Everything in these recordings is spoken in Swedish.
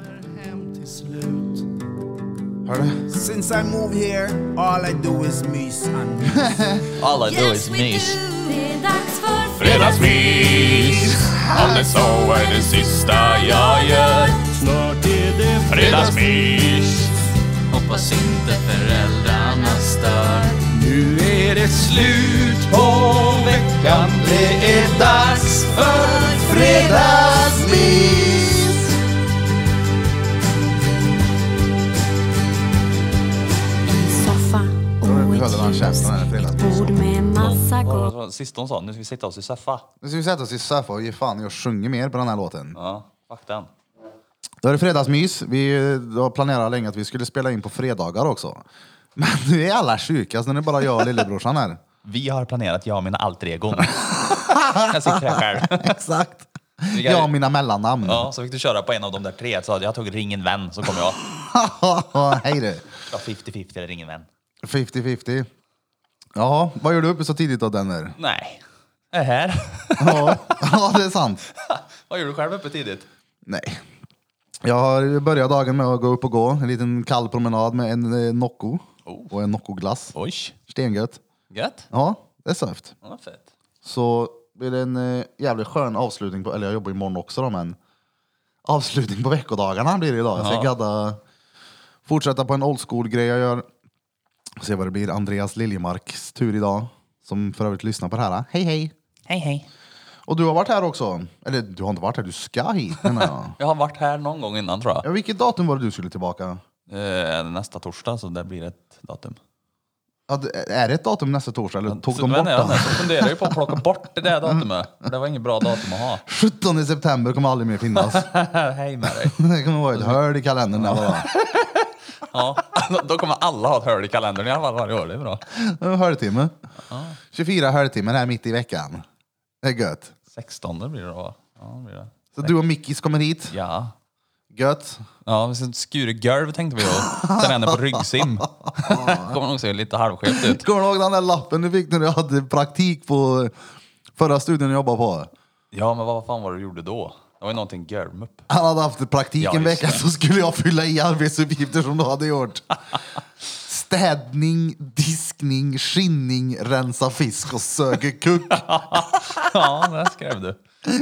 kom till slut. Hör du? Since I moved here, all I do is mys and mys. All I do Yes is we mys. do. Det är dags för Fredagsmys! Alldeles så är det sista jag gör. Snart är det Fredagsmys! Hoppas inte föräldrarna stör. Nu är det slut på veckan. Det är dags för fredagsmys! en soffa Hörde och du ett den här käften ljus. här fredagsmys? Bord med massa Det gott. var det sista hon sa, nu ska vi sätta oss i soffa. Nu ska vi sätta oss i soffan och ge fan jag sjunger mer på den här låten. Ja, fuck den. Då är det fredagsmys. Vi eh, har planerat länge att vi skulle spela in på fredagar också. Men nu är alla sjuka, så nu är det bara jag och lillebrorsan här. Vi har planerat, jag och mina alter egon. jag sitter här själv. Exakt. Vi kan- Jag och mina mellannamn. Ja, så fick du köra på en av de där tre. Så jag tog ring en vän, så kom jag. Hej du. Ja, 50-50 eller ring en vän. 50-50. Jaha, vad gör du uppe så tidigt då Denner? Nej. Är här. Ja, ja, det är sant. Vad gör du själv uppe tidigt? Nej. Jag har börjat dagen med att gå upp och gå. En liten kall promenad med en eh, Nocco och en Nocco-glass. Oj, Stengött. gött. Ja, det är söft. Ja, vad fett. Så blir det en eh, jävligt skön avslutning på, eller jag jobbar imorgon också då men avslutning på veckodagarna blir det idag. Jag ska gadda, fortsätta på en old school grej jag gör. Se vad det blir. Andreas Liljemarks tur idag, som för övrigt lyssnar på det här. Hej hej! Hej, hej. Och du har varit här också. Eller du har inte varit här, du ska hit menar jag. Jag har varit här någon gång innan tror jag. Ja, vilket datum var det du skulle tillbaka? Eh, nästa torsdag, så det blir ett datum. Ja, det- är det ett datum nästa torsdag eller tog så, de men bort jag, det? så funderar jag ju på att plocka bort det där datumet. för Det var inget bra datum att ha. 17 september kommer aldrig mer finnas. Hej med dig. det kommer vara ett hål i kalendern. där bara. Ja, då kommer alla ha ett hål i kalendern i alla fall varje år. Det är bra. En halvtimme. 24 halvtimmar här mitt i veckan. Det är gött. 16 blir det då. Ja, det blir det. Så du och Mickis kommer hit. Ja. Gött. Ja, vi ska skura golv tänkte vi då. Träna på ryggsim. Kommer nog se lite halvskevt ut. Kommer du ihåg den där lappen du fick när du hade praktik på förra studion du jobbade på? Ja, men vad fan var det du gjorde då? Det var ju någonting görmupp. Han hade haft praktik Ja, en just vecka det. så skulle jag fylla i arbetsuppgifter som du hade gjort. Städning, diskning, skinning, rensa fisk och söka kuck. Ja, det skrev du.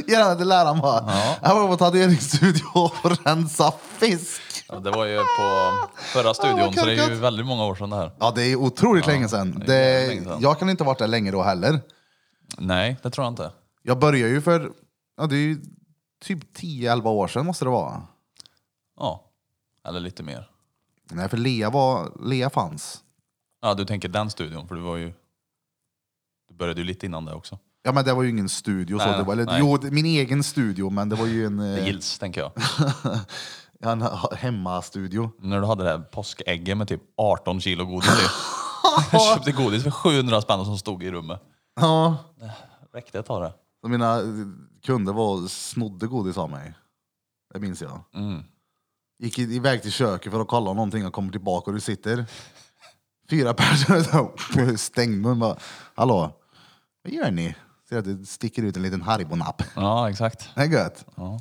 Gärna till läraren bara. Jag var på tatueringsstudio och rensa fisk. Ja, det var ju på förra Ja, studion, vad så det är ju korkat. väldigt många år sedan det här. Ja, det är otroligt länge sedan. det är Det, länge sedan. jag kan inte ha varit där länge då heller. Nej, det tror jag inte. Jag började ju för, ja det är ju typ 10-11 år sedan måste det vara. Ja, eller lite mer. Nej, för Lea, var, Lea fanns. Ja, du tänker den studion, för du var ju... Du började ju lite innan det också. Ja men det var ju ingen studio så. Nej, Det var, eller, nej. jo, det- min egen studio men det var ju en, Det eh, gills, tänker jag. en he- hemmastudio. När du hade det här påskägget med typ 18 kilo godis i. Jag köpte godis för 700 spänn som stod i rummet. Ja. Räckte ett tag det. Så mina eh, kunder var och snodde godis av mig. Det minns jag. Mm. Gick i- iväg till köket för att kolla om någonting och kommer tillbaka och du sitter fyra personer stängd mun bara. Hallå, vad gör ni? Ser att det sticker ut en liten haribonapp. Ja, exakt. Det är gött. Ja.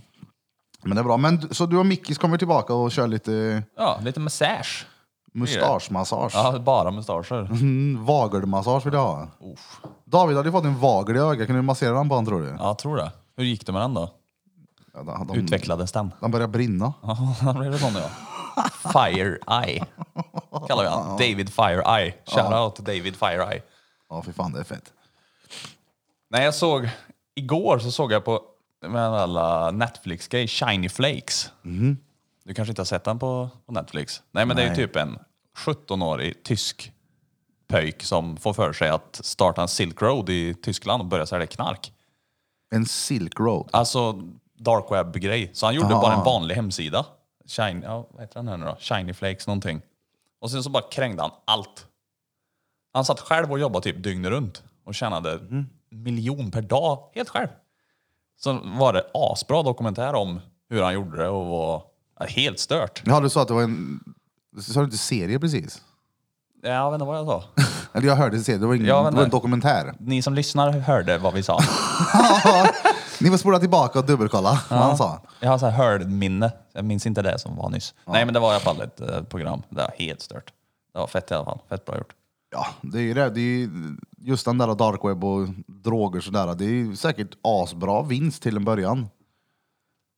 Men det är bra. Men, du- så du och Mickis kommer tillbaka och kör lite Ja, lite massage. mustaschmassage? Ja, bara mustascher. Mm, vagelmassage vill jag ha. Uff. David hade ju fått en vagel i ögat. Kan du massera den på honom tror du? Ja, jag tror det. Hur gick det med den då? Ja, de, de, Utvecklades den? Den börjar brinna. Ja, den blev det sån ja. Fire Eye. Kallar vi han. David Fire Eye. Shoutout till David Fire Eye. Ja, fy fan det är fett. Nej, jag såg igår så såg jag på med alla Netflix-grej, Shiny Flakes. Du kanske inte har sett den på, på Netflix? Nej, men det är ju typ en 17-årig tysk pöjk som får för sig att starta en Silk Road i Tyskland och börja sälja knark. En Silk Road. Alltså dark web-grej. Så han gjorde bara en vanlig hemsida. Shiny, ja, vad heter den här nu då? Shiny Flakes någonting. Och sen så bara krängde han allt. Han satt själv och jobbade typ dygnet runt och tjänade en miljon per dag helt själv. Så var det asbra dokumentär om hur han gjorde det och var ja, helt stört. Ja, du sa att det var en... Sa du inte serie precis? Ja, vet inte vad jag sa. Eller jag hörde en serie, det var, ingen, Ja, men det var en nej. dokumentär. Ni som lyssnar hörde vad vi sa. Ni får spola tillbaka och dubbelkolla vad han sa. Jag har så här hörminne. Jag minns inte det som var nyss. Nej, men det var i alla fall ett eh, program. Det var helt stört. Det var fett i alla fall. Fett bra gjort. Ja, det är ju det. det är ju just den där dark web och droger och sådär. Det är ju säkert asbra vinst till en början.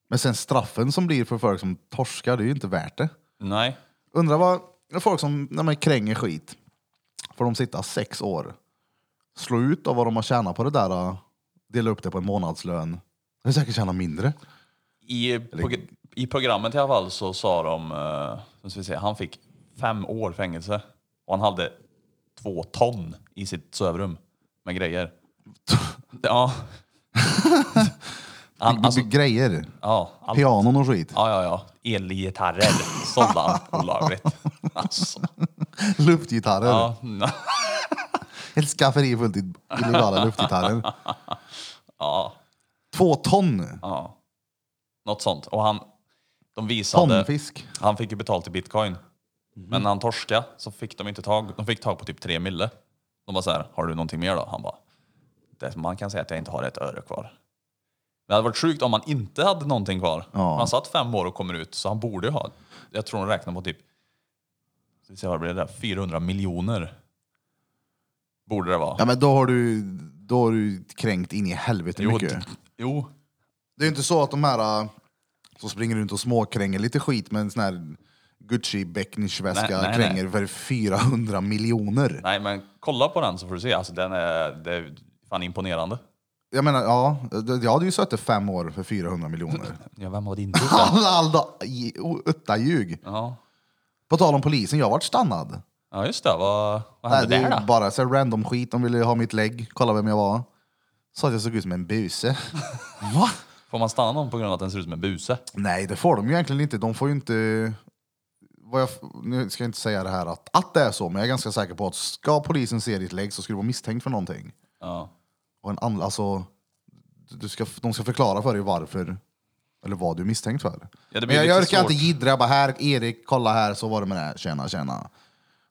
Men sen straffen som blir för folk som torskar, det är ju inte värt det. Nej. Undrar vad folk som när man kränger skit, får de sitta sex år, slå ut av vad de har tjänat på det där, och dela upp det på en månadslön. De säkert tjäna mindre. I, prog- I programmet i alla fall så sa de, eh, nu ska vi se, han fick fem år fängelse och han hade två ton i sitt sovrum med grejer. Ja. Han, alltså, Grejer. ja, allt, ja, Pianon och skit. ja, ja. Elgitarrer sålde han olagligt. Alltså, Luftgitarrer. ja. Ett skafferi fullt i illegala luftgitarrer. ja, Två ton ja. Något sånt. Och han, de visade... tonfisk. Han fick ju betalt i bitcoin. Mhm. Men när han torskade så fick de inte tag. De fick tag på typ tre mille. De bara så här, har du någonting mer då? Han bara, det, man kan säga att jag inte har ett öre kvar. Men det hade varit sjukt om han inte hade någonting kvar. Ja. Han satt fem år och kommer ut, så han borde ju ha. Jag tror de räknar på typ, ska vi se vad det blir där, 400 miljoner. Borde det vara. Ja men då har du, då har du kränkt in i helvete jo, mycket. d- jo, Det är ju inte så att de här äh, som springer runt och småkränger lite skit med en sån här gucci Nej, becknischväska nej, kränger för 400 miljoner. nej men kolla på den så får du se. Alltså den är, det är fan imponerande. Jag menar, ja, d- jag hade ju suttit fem år för 400 miljoner. Ja, vem har din tur? Alla utta ljug. Ja. På tal om polisen, jag vart stannad. Ja just det, vad, vad Nej, det hände är där ju då? bara så här random skit. De ville ju ha mitt lägg, kolla vem jag var. Sa att jag såg ut som en buse. Va? Får man stanna någon på grund av att den ser ut som en buse? Nej, det får de ju egentligen inte. De får ju inte... Vad jag, nu ska jag inte säga det här att, att det är så, men jag är ganska säker på att ska polisen se ditt lägg så ska du vara misstänkt för någonting. Ja. Och en annan, alltså, du ska, de ska förklara för dig varför, eller vad du är misstänkt för. Ja, det blir men jag, lite jag orkar svårt. inte jiddra, jag bara här, Erik, kolla här, så var det med det här, tjena, tjena.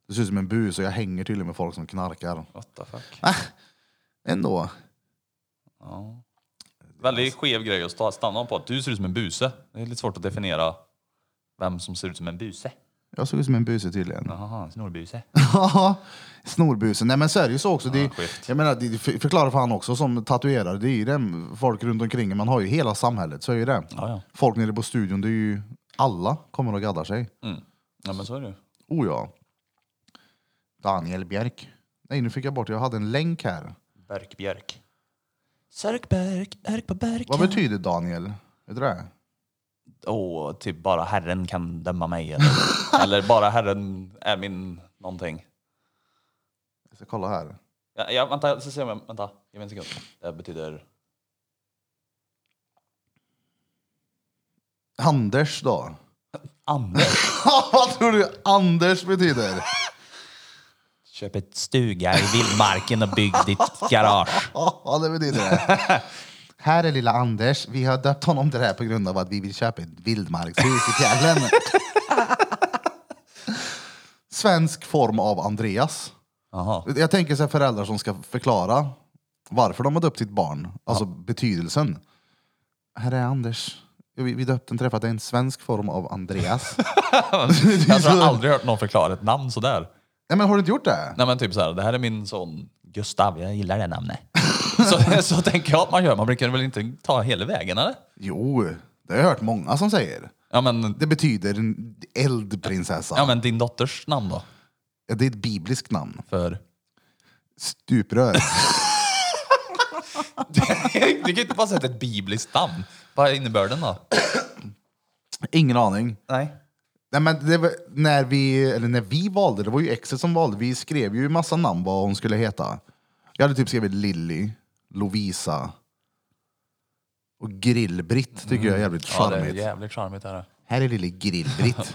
Du ser ut som en bus och jag hänger till och med folk som knarkar. What the fuck? Ändå. Ja. Väldigt skev grej att sta- stanna någon på. Att du ser ut som en buse. Det är lite svårt att definiera vem som ser ut som en buse. Jag såg ut som en buse tydligen. Jaha, en snorbuse. Ja, snorbusen. Nej men så är det ju så också. Det, skit. jag menar, det för- förklarar för han också som tatuerare, det är ju det folk runt omkring, man har ju hela samhället, så är ju det. Ja, ja. Folk nere på studion, det är ju alla kommer och gaddar sig. Ja men så är det ju. Oh ja. Daniel Björk. Nej nu fick jag bort, jag hade en länk här. Björk, björk. Sörk, björk, örk på björk. Vad betyder Daniel? Vet du det? Åh, typ bara herren kan döma mig. Eller, eller bara herren är min någonting. Jag ska kolla här. Ja, ja, vänta, jag ska se om jag... Vänta, ge mig en sekund. Det här betyder... Anders då? Anders. Vad tror du Anders betyder? Köp ett stuga i vildmarken och bygg ditt garage. Ja, det betyder det. Här är lilla Anders. Vi har döpt honom till det här på grund av att vi vill köpa ett vildmarkshus i fjällen. Svensk form av Andreas. Jaha. Jag tänker så här föräldrar som ska förklara varför de har döpt sitt barn. Alltså betydelsen. Här är Anders. Vi, vi döpte en träff att det är en svensk form av Andreas. Jag tror jag aldrig hört någon förklara ett namn sådär. Nej, men har du inte gjort det? Nej men typ såhär, det här är min son Gustav, jag gillar det namnet. så, så tänker jag att man gör, man brukar väl inte ta hela vägen eller? Jo, det har jag hört många som säger. Ja men, Det betyder en eldprinsessa. ja men din dotters namn då? Ja, Det är ett bibliskt namn. För... Stuprör. du kan ju inte bara sätta ett bibliskt namn. Vad är innebörden då? Ingen aning. Nej. Nej, men det var, när, vi, eller när vi valde, det var ju exet som valde, vi skrev ju massa namn vad hon skulle heta. Jag hade typ skrivit Lilly, Lovisa och Grillbritt tycker jag är jävligt Mm. Ja, det är charmigt. jävligt charmigt är det. Här är lille Grillbritt.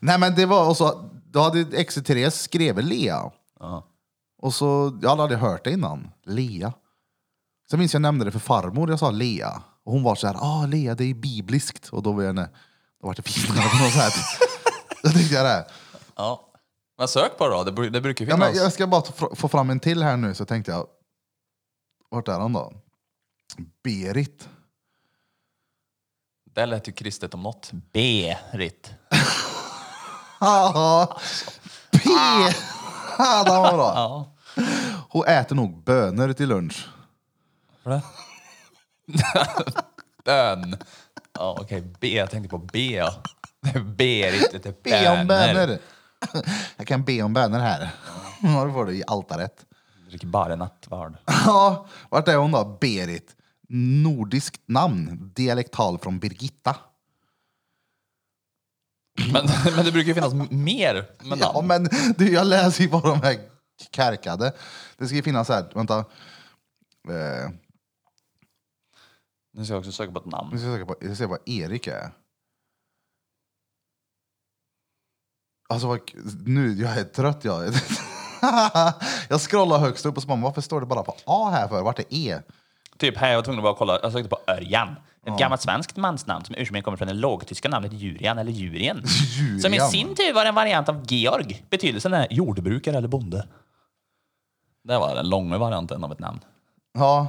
Nej men det var, och så, då hade exet Therese skrev Lea. Ja. Och så, jag hade aldrig hört det innan. Lea. Sen minns jag nämnde det för farmor, jag sa Lea. Och hon var så här, ah Lea det är bibliskt. Och då var jag, nej, då var det finare på något sätt. då tänkte jag det. här. Ja. Men sök på det då, det, bru- det brukar ju Ja, finnas. men jag ska bara ta- få fram en till här nu, så tänkte jag, vart är han då? Berit. Det lät ju kristet om något. Berit. Haha. P. Ah, den var bra. Ja. Hon äter nog bönor till lunch. För det? Bön. Ja, okej. B. Jag tänkte på B. ja. Det är Berit, det är Be om bönor. bönor. Jag kan be om bönor här. Ja, då får du i altaret. Dricker bara nattvard. Ja, vart är hon då? Berit. Nordiskt namn, dialektal från Birgitta. Men, men det brukar ju finnas m- mer med Ja, namn. men du, jag läser ju bara de här kärkade. Det ska ju finnas så här, vänta. Eh, Nu ska jag också söka på ett nu namn. ska jag söka på, jag ser vad Erik är. Alltså vad, k- nu, jag är trött jag. jag scrollar högst upp och så bara, varför står det bara på A här för? Vart är E? Typ här, jag var tvungen att bara kolla. Jag sökte på Örjan. Ett gammalt svenskt mansnamn som ursprungligen kommer från det lågtyska namnet Jurian eller Jurien. Jurian. Som i sin tur var en variant av Georg. Betydelsen är Jordbrukare eller bonde. Det var den långa varianten av ett namn. Ja.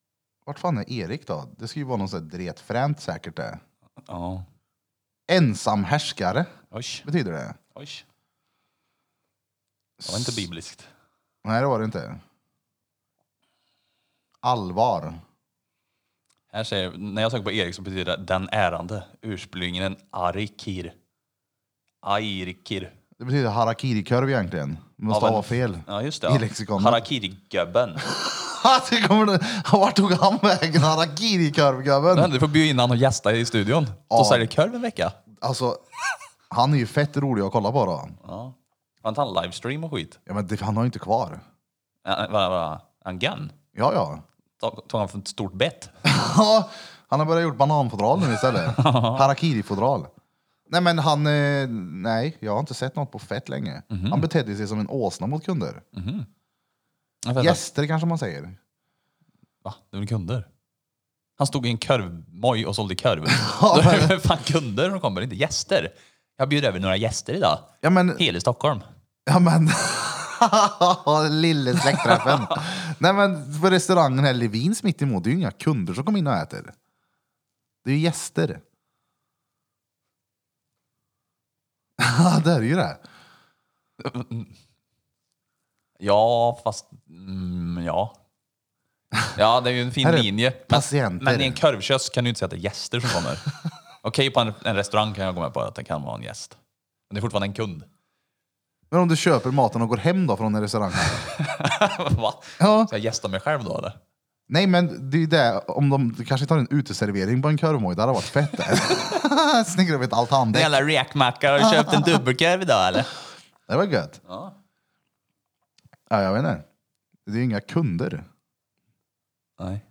Vart fan är Erik då? Det ska ju vara någon sån här dretfränt säkert det. Ja. Ensam härskare Oj. betyder det. Oj. Det var inte bibliskt. Nej det var det inte. Allvar. Här säger, när jag söker på Erik så betyder det den ärande. Ursprungligen Arikir. Airikir. Det betyder harakirikorv egentligen. Men de Ja, stavar men- fel. Ja, just I det. Ja. lexikonet. Harakiri-gubben. Ha, det kommer det. Vart tog han vägen harakirikorvgubben? Du får bjuda in han och gästa i studion. Ja. Så säljer korv en vecka. Alltså han är ju fett rolig att kolla på då. Han tar en livestream och skit. Ja, men det, han har ju inte kvar. Ja, Vad var En gun? Ja ja. Tog tog han för ett stort bett? Ja, han har börjat gjort bananfodral nu istället. Harakiri-fodral. Nej men han, eh, nej jag har inte sett något på fett länge. Han betedde sig som en åsna mot kunder. Jag vet inte. Gäster kanske man säger. Va? Det var kunder? Han stod i en korvmoj och sålde korv. Då är det fan kunder som kommer, inte gäster. Jag bjuder över några gäster idag. Ja men, Hela Stockholm. ja men. Lille släktträffen. nej men på restaurangen här, Levins mitt emot, det är ju inga kunder som kommer in och äter. Det är ju gäster. Ja det är ju det. Ja, fast... Mm, ja. Ja, det är ju en fin Här är linje. Men, patienter. men i en korvkiosk kan du ju inte säga att det är gäster som kommer. Okej, på en, en restaurang kan jag gå med på att det kan vara en gäst. Men det är fortfarande en kund. Men om du köper maten och går hem då från en restaurang. Va? Ja. Ska jag gästa mig själv då eller? Nej men det är ju det, om de du kanske tar en uteservering på en korvmoj, det hade varit fett det. Snickrar upp ett En altandäck. jävla räkmacka. Har du köpt en dubbelkorv idag eller? Det var gött. Ja. jag vet inte. Det är ju inga kunder. Nej.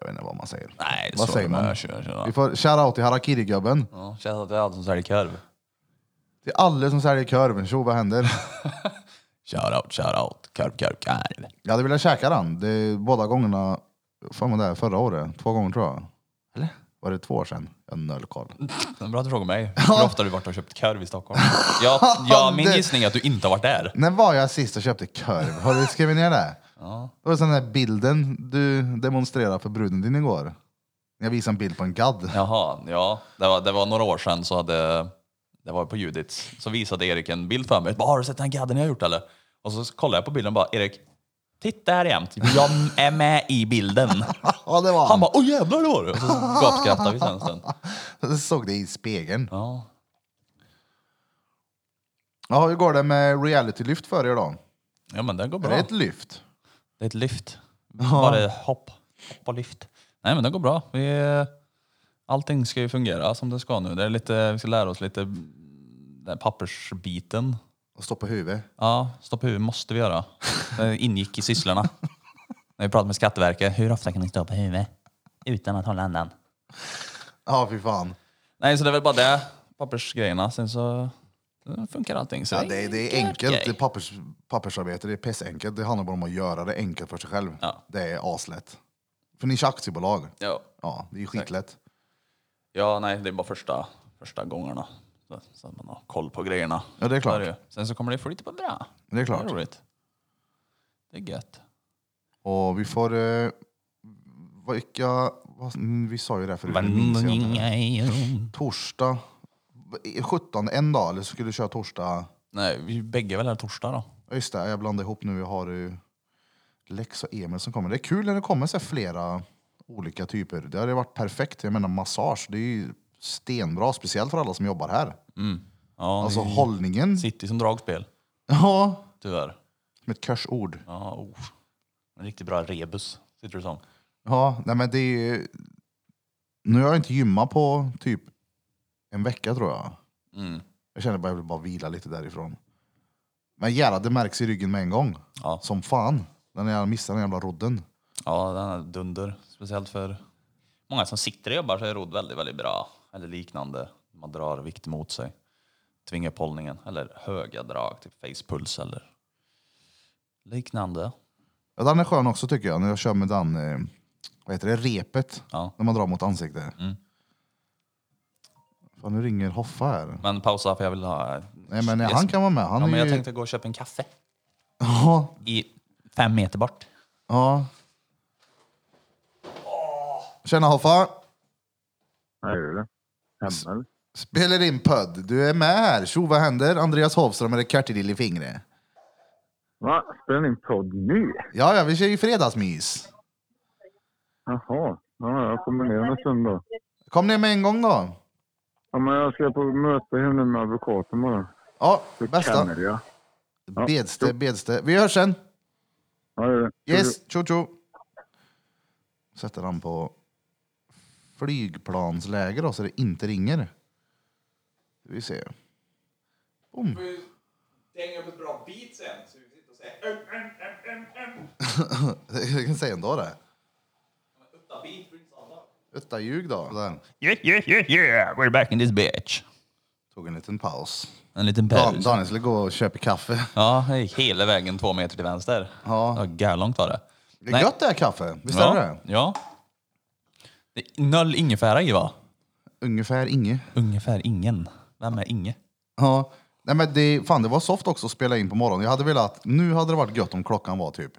Jag vet inte vad man säger. Nej, det Vad står säger det med. man? Jag kör, kör. Vi får shoutout till harakirigubben. Ja, Känns att det är allt som säljer korv. Till alla som säljer korv. Tjo vad händer? Shoutout, shoutout. Korv, korv, korv. Jag hade velat käka den. Det är båda gångerna, fan vad det är, förra året. Två gånger tror jag. Eller? Var det två år sedan? Jag har noll koll. Det är Bra att du frågar mig. Hur ofta har du varit och köpt korv i Stockholm? Ja, ja, min Det- gissning är att du inte har varit där. När var jag sist och köpte korv? Har du skrivit ner det? Ja. Det var den här bilden du demonstrerade för bruden din igår. Jag visade en bild på en gadd. Jaha, ja. Det var, det var några år sedan så hade, det var på Judits, så visade Erik en bild för mig. Bara, har du sett den gadden jag har gjort eller? Och så kollade jag på bilden och bara, Erik, titta här jämt. Jag är med i bilden. Ja, det var Han han. bara, åh jävlar det var du! Och så gapskrattade vi sen en stund. Jag såg det i spegeln. Ja. Ja, hur går det med realitylyft för er då? ja, men det går Är bra. det ett lyft? Det är ett lyft. Bara hopp. Hopp och lyft. Nej men det går bra. Vi, allting ska ju fungera som det ska nu. Det är lite, vi ska lära oss lite den här pappersbiten. Att stå på huvudet? Ja, stoppa huvudet måste vi göra. Det ingick i sysslorna. När vi pratade med Skatteverket. Hur ofta kan ni stoppa huvudet? Utan att hålla andan. Ja, fy fan. Nej, så det är väl bara det. Pappersgrejerna. Sen så eh, funkar allting. Så Ja, det, är- det är enkelt. Det är pappers, pappersarbete. Det är pissenkelt. Det handlar bara om att göra det enkelt för sig själv. Ja. Det är aslätt. För ni är aktiebolag. Ja. Ja, det är ju skitlätt. ja, nej, det är bara första, första gångerna. Så, så att man har koll på grejerna. Ja, det är klart. ju. Sen så kommer det flyta på bra. Det är Det klart. är roligt. Det är gött. Och vi får... Eh, vilka, vad, mm, vi sa ju det här förut. nu minns jag inte. Nej, Torsdag. eh, 17, en dag, eller så skulle du köra torsdag? vi bägge är väl här torsdag då? Ja, Just det, jag blandar ihop nu. Jag har ju Lex och Emil som kommer. Det är kul när det kommer så här flera olika typer. Det hade varit perfekt. Jag menar massage, det är ju stenbra. Speciellt för alla som jobbar här. Mm. Ja, Alltså vi- hållningen. City som dragspel, Ja, tyvärr. som ett körsord. Ja, oh. En riktigt bra rebus, sitter du som. Ja, nej men det är ju... Nu har jag inte gymmat på typ en vecka tror jag. Mm. Jag känner bara jag vill bara vila lite därifrån. Men jävlar, det märks i ryggen med en gång. Ja. Som fan. Den jag missar den jävla rodden. Ja, den är dunder. Speciellt för många som sitter och jobbar så är rodd väldigt, väldigt bra. Eller liknande. Man drar vikt mot sig. Tvingar upp hållningen. Eller höga drag, typ facepuls eller liknande. Ja, den är skön också tycker jag, när jag kör med den, eh, vad heter det, repet. Ja. Mm. När man drar mot ansiktet. Fan, nu ringer Hoffa här. Men pausa för jag vill ha... Nej men eh, han kan vara med. Han ja, är men jag ju... tänkte gå och köpa en kaffe. Ja, I fem meter bort. ja. Tjena Hoffa! Vad gör du? Hemma eller? Spelar in podd. Du är med här. Tjo, vad händer? Andreas Hofström med kartedill i fingret. Va? Spelar ni in podd nu? Ja, ja, vi kör ju fredagsmys. Jaha. Ja, jag kommer ner om en stund då. Kom ner med en gång då. Ja, men jag ska på möte hemma med advokaten bara. Ja, Så bästa. känner jag. Bedste, bedste. Vi hörs sen. Ja, det är det. Yes, tjo tjo. Sätter han på flygplansläge då så det inte ringer. Vi ser. Boom. Jag kan säga ändå det. Utta ljug då. Där. Yeah, yeah, yeah, yeah! We're back in this bitch. Tog en liten paus. En liten Dan, päls. Daniel skulle gå och köpa kaffe. Ja, jag gick hela vägen två meter till vänster. Ja. Gärlångt var det. Det är Nej. gött det här kaffe. Visst är Ja, det ja. Det är noll ingefära i va? Ungefär inget. Ungefär ingen. Vem är Inge? Ja. Nej, men det, fan, det var soft också att spela in på morgonen. Jag hade velat, nu hade det varit gött om klockan var typ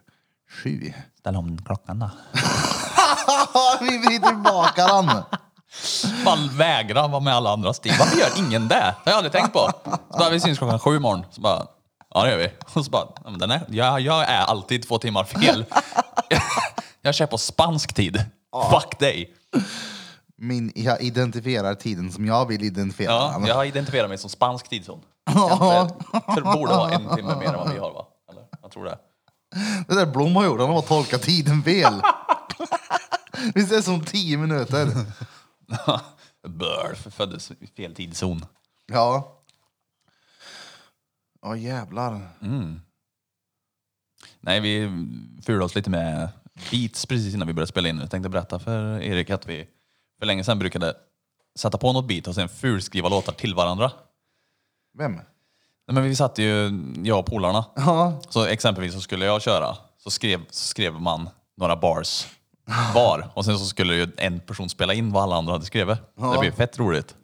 sju. Ställ om klockan då. Vi vrider tillbaka den. Fall vägra vara med alla andra stil. Varför gör ingen det? Det har jag aldrig tänkt på. Så bara, vi syns klockan sju imorgon. Så bara, ja det gör vi. Och så bara, ja, men den är, jag, jag är alltid två timmar fel. Jag kör på spansk tid. Fuck dig. Min, jag identifierar tiden som jag vill identifiera Ja, den. jag har identifierat mig som spansk tidszon. Kanske, det borde vara en timme mer än vad vi har va? Eller, jag tror det. Det där Blom har gjort, han har tolkat tiden fel. Visst är det som tio minuter? Bör, föddes i fel tidszon. Ja. Ja jävlar. Nej, vi fulade oss lite med beats precis innan vi började spela in. Jag tänkte berätta för Erik att vi för länge sedan brukade sätta på något beat och sen fulskriva låtar till varandra. Vem? Nej, men vi satt ju, jag och polarna. Ja. Så exempelvis så skulle jag köra, så skrev, så skrev man några bars var och sen så skulle ju en person spela in vad alla andra hade skrivit. Det blev fett roligt.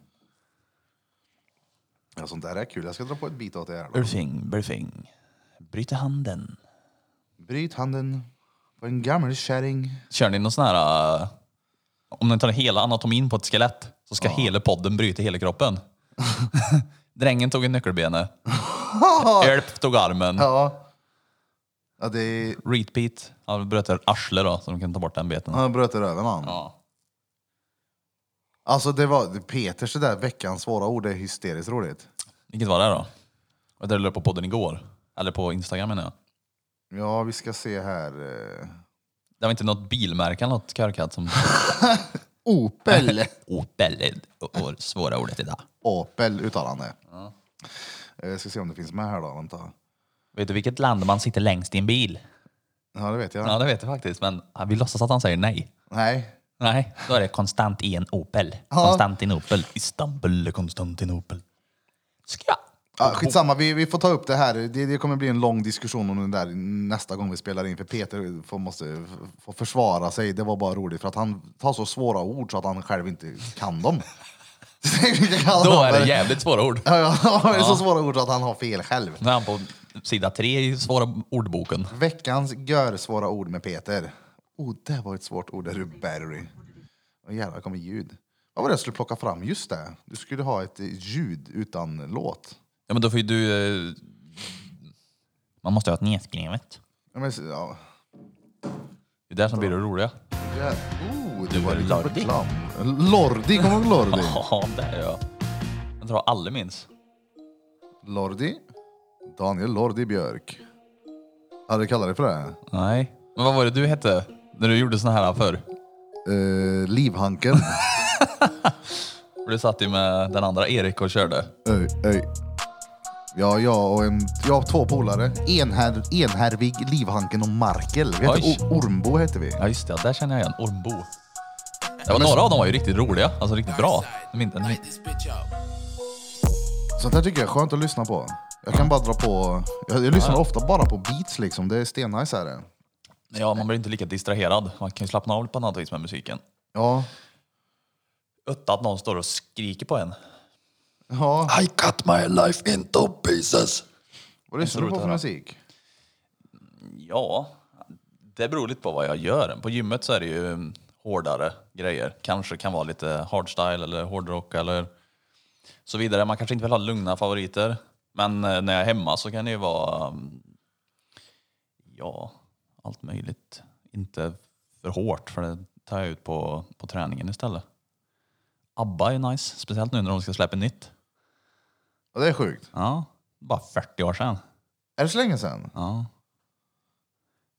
ja, sånt där är kul. Jag ska dra på ett bit åt det här. då. Burfing, burfing. Bryter handen. Bryt handen på en gammal kärring. Kör ni någon sån här... äh, Om ni tar hela anatomin på ett skelett så ska hela podden bryta hela kroppen. Drängen tog en nyckelbene. Ölp tog armen. Ja. Ja, det är... Repeat. Han bröt ett arsle då, så de kan ta bort den biten. Han bröt i röven han. Ja. Alltså det var Peters det där veckans svåra ord, det är hysteriskt roligt. Vilket var det då? Och det la upp på podden igår. Eller på Instagram menar jag. Ja, vi ska se här. eh. Det var inte något bilmärke eller något körkatt som... Opel. Opel och svåra ordet idag. Opel uttalar han det. Eh, Jag ska se om det finns med här då, vänta. Vet du vilket land man sitter längst i en bil? Ja, det vet jag. Ja, det vet jag faktiskt, men vi låtsas att han säger nej. Nej. Nej, då är det konstant i en Opel. Konstantinopel. Istanbul eller Konstantinopel. Ska jag? Ja, skitsamma, vi, vi får ta upp det här. Det, det kommer bli en lång diskussion om det där nästa gång vi spelar in. För Peter får, måste få försvara sig. Det var bara roligt för att han tar så svåra ord så att han själv inte kan dem. Då är det jävligt svåra ord. Ja, ja, det är så svåra ord så att han har fel själv. Nu är han på sida tre i svåra ordboken. Veckans görsvåra ord med Peter. Oh, det var ett svårt ord. Det är battery. Åh jävlar, det kommer ljud. Vad var det jag skulle plocka fram? Just det, du skulle ha ett eh, ljud utan låt. Ja, men då får ju du... eh, Man måste ha ett nedskrivet. Ja, men, ja. Det är där som blir det roliga. Ja. Oh, det Du var är lite lordig. reklam. Lordi, kommer du ihåg Lordi? Ja, det är jag. Jag tror alla minns. Lordi. Daniel Lordi Björk. Hade du kallat dig för det? Nej. Men vad var det du hette när du gjorde såna här förr? Uh, livhanken. För Du satt ju med den andra Erik och körde. Öj, öj. Ja, jag och en, jag har två polare. Enher, enhärvig, Livhanken och Markel. Vi hette Oj. o- Ormbo hette vi. Ja just det, där känner jag igen. Ormbo. Ja, men några av dem var ju riktigt roliga, alltså riktigt bra. De är inte en hit. Sånt här tycker jag är skönt att lyssna på. Jag kan bara dra på... Jag, jag lyssnar ofta bara på beats liksom. Det är stennice är det. Ja, man blir inte lika distraherad. Man kan ju slappna av på något vis med musiken. Ja. Utan att någon står och skriker på en. Ja. I cut my life into pieces. Vad lyssnar du roligt på för att höra. musik? Ja, det beror lite på vad jag gör. På gymmet så är det ju mm, hårdare grejer. Kanske kan vara lite hardstyle eller hårdrock eller så vidare. Man kanske inte vill ha lugna favoriter. Men eh, när jag är hemma så kan det ju vara, mm, ja, allt möjligt. Inte för hårt, för det tar jag ut på, på träningen istället. ABBA är nice, speciellt nu när de ska släppa nytt. Ja, det är sjukt. Ja, bara 40 år sedan. Är det så länge sedan? Ja.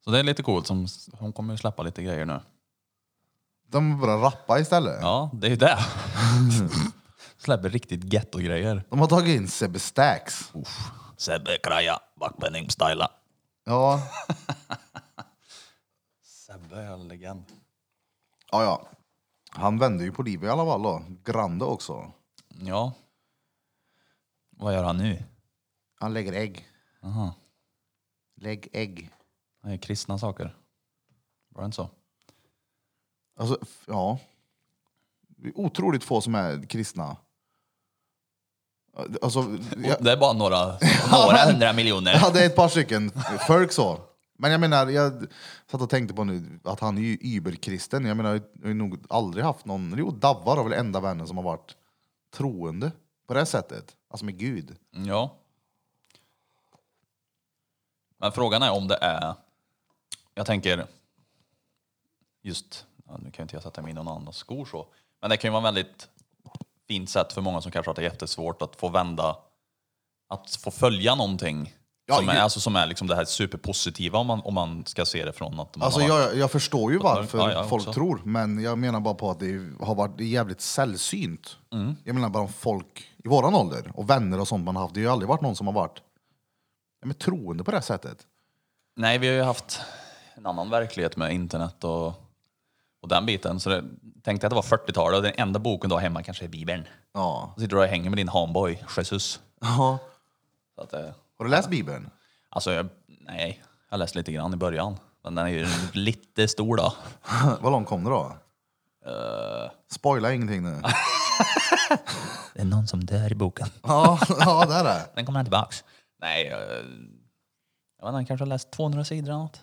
Så det är lite coolt. Som, hon kommer ju släppa lite grejer nu. De bara rappa istället. Ja, det är ju det. Släpper riktigt getto-grejer. De har tagit in Sebbe Stax. Sebbe Kraja, Backpenning Styla. Ja. Sebbe är en legend. ja, ja. Han vände ju på livet i alla fall då. Grande också. Ja. Vad gör han nu? Han lägger ägg. Aha. Lägg ägg. Han gör kristna saker. Var det inte så? Alltså, f- ja. Det är otroligt få som är kristna. Alltså, jag, Det är bara några, några hundra jag miljoner. hade ett par stycken folk så. Men jag menar, jag satt och tänkte på nu att han är ju überkristen. Jag menar, jag har ju nog aldrig haft någon... Jo, Davvar har väl enda vännen som har varit troende på det sättet. Alltså med Gud. Ja. Men frågan är om det är... Jag tänker... Just... Ja, nu kan ju inte jag sätta mig i någon annans skor så. Men det kan ju vara väldigt fint sätt för många som kanske har det jättesvårt att få vända... Att få följa någonting. Ja, som, är, ju- alltså, som är liksom det här superpositiva om man, om man ska se det från att man Alltså har... jag, jag förstår ju varför Ja, jag folk också. tror, men jag menar bara på att det har varit jävligt sällsynt. Mm. Jag menar bara om folk i våran ålder och vänner och sånt man har haft. Det har ju aldrig varit någon som har varit ja, men, troende på det här sättet. Nej, vi har ju haft en annan verklighet med internet och, och den biten. Så det, tänkte jag att det var 40-talet och den enda boken du har hemma kanske är Bibeln. Ja. Och sitter du och hänger med din homeboy, Jesus. ja. Så att, eh, Har du läst Bibeln? alltså, jag, nej, jag läste lite grann i början. Men den är ju lite stor då. Vad långt kom du då? Eh. Spoila ingenting nu. Det är någon som dör i boken. ja, ja, det är det. Den kommer tillbaks. Nej, eh, jag vet inte, kanske har läst 200 sidor eller något.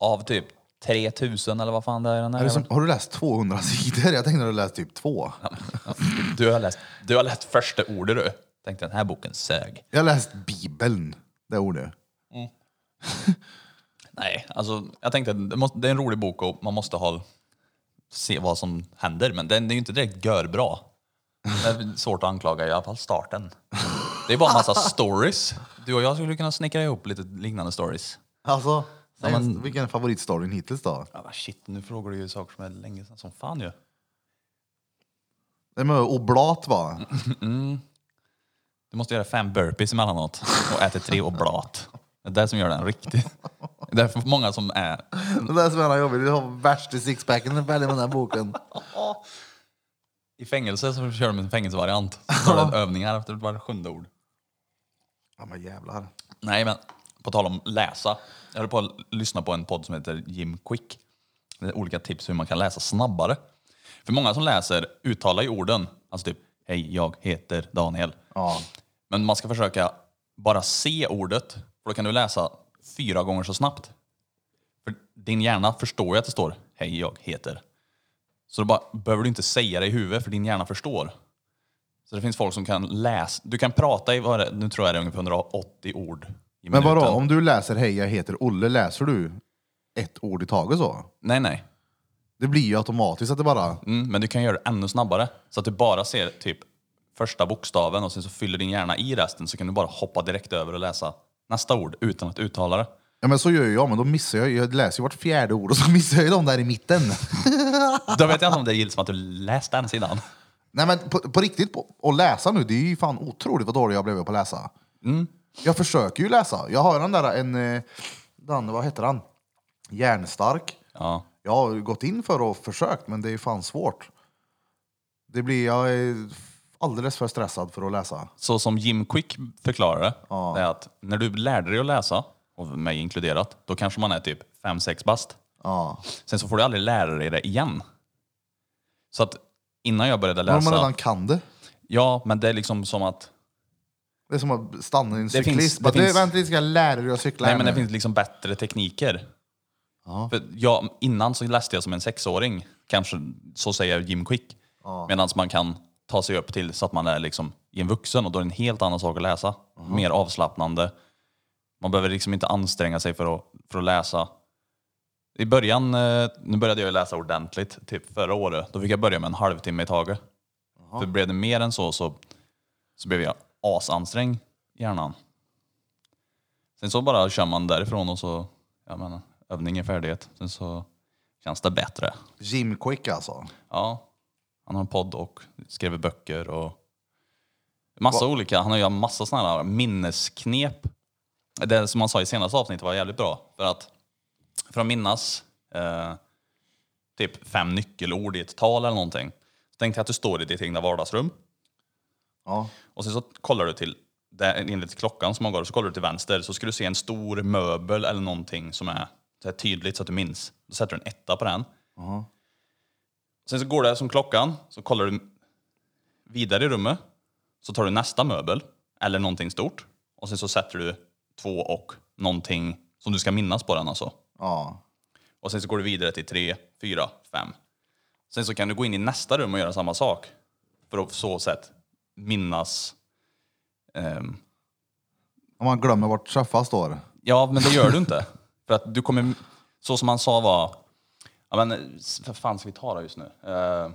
Av typ 3000 eller vad fan det är den Är här. det som, har du läst 200 sidor? Jag tänkte att du läst typ två. Du, har läst, du har läst första ordet du. Tänkte den här boken sög. Jag har läst Bibeln, det ordet. Nej, alltså jag tänkte att det, måste, det är en rolig bok och man måste ha, se vad som händer. Men den är ju inte direkt görbra. Det är svårt att anklaga i alla fall starten. Det är bara en massa stories. Du och jag skulle kunna snickra ihop lite liknande stories. Alltså, säg Ja, en- men- vilken är favoritstoryn hittills då? Ja, men shit, nu frågar du ju saker som är länge sedan som fan ju. Det är med oblat va? Du måste göra fem burpees emellanåt och äta tre oblat. Det är det som gör den riktig. Det är därför många som är... Det där som är jobbigt, du har värsta sixpacken när du färdig med den här boken. I fängelse så kör de en fängelsevariant. Så tar det övningar efter varje sjunde ord. Ja men jävlar. Nej, men på tal om läsa. Jag höll på att lyssna på en podd som heter Jim Quick. Det är olika tips hur man kan läsa snabbare. För många som läser uttalar ju orden. Alltså typ, hej, jag heter Daniel. Ja. Men man ska försöka bara se ordet, för då kan du läsa fyra gånger så snabbt. För din hjärna förstår ju att det står Hej, jag heter. Så då bara, behöver du inte säga det i huvudet, för din hjärna förstår. Så det finns folk som kan läsa. Du kan prata i, vad är det, nu tror jag det är ungefär 180 ord i Men minuten. vadå, om du läser Hej jag heter Olle, läser du ett ord i taget så? Nej, nej. Det blir ju automatiskt att det bara... Mm, men du kan göra det ännu snabbare. Så att du bara ser typ första bokstaven och sen så fyller din hjärna i resten så kan du bara hoppa direkt över och läsa nästa ord utan att uttala det. Ja men så gör jag, men då missar jag Jag läser ju vart fjärde ord och så missar jag ju de där i mitten. Då vet jag inte om det gills som att du läst den sidan. Nej men på, på riktigt, på, att läsa nu, det är ju fan otroligt vad dålig jag blev på att läsa. Mm. Jag försöker ju läsa. Jag har den där, en... eh, Den, vad heter han? Järnstark. Ja. Jag har ju gått in för och försökt, men det är fan svårt. Det blir, jag är alldeles för stressad för att läsa. Så som Jim Quick förklarar det, det är att när du lärde dig att läsa, och mig inkluderat, då kanske man är typ 5-6 bast. Ja. Sen så får du aldrig lära dig det igen. Så att innan jag började Men om läsa... man redan kan det. Ja, men det är liksom som att Det är som att stanna i en cyklist. finns- det Bara, "Du, finns- Vänta lite, ska jag lära dig att cykla Nej, här men det nu?" finns liksom bättre tekniker. För jag, innan så läste jag som en sexåring, kanske så säger Jim Quick. Medan man kan ta sig upp till så att man är liksom i en vuxen och då är det en helt annan sak att läsa. Mer avslappnande. Man behöver liksom inte anstränga sig för att, för att läsa. I början, eh, nu började jag ju läsa ordentligt, typ förra året. Då fick jag börja med en halvtimme i taget. För blev det mer än så så, så blev jag asansträngd i hjärnan. Sen så bara kör man därifrån och så, jag menar, övning är färdighet. Sen så känns det bättre. Jim Quick alltså. Ja, han har en podd och skriver böcker och massa olika. Han har ju massa sådana här minnesknep. Det som han sa i senaste avsnittet var jävligt bra. För att, för att minnas eh, typ fem nyckelord i ett tal eller någonting. Så tänkte jag att du står i ditt egna vardagsrum Ja. och sen så kollar du till, där, enligt klockan som man går, så kollar du till vänster så ska du se en stor möbel eller någonting som är så här tydligt så att du minns. Då sätter du en etta på den. Sen så går det som klockan, så kollar du vidare i rummet. Så tar du nästa möbel eller någonting stort och sen så sätter du två och någonting som du ska minnas på den alltså. ja. Och sen så går du vidare till tre, fyra, fem. Sen så kan du gå in i nästa rum och göra samma sak. För att på så sätt minnas ehm, Om man glömmer vart träffas står. Ja, men det gör du inte. För att du kommer, så som han sa var, ja men s- vad fan ska vi ta då just nu? Eh,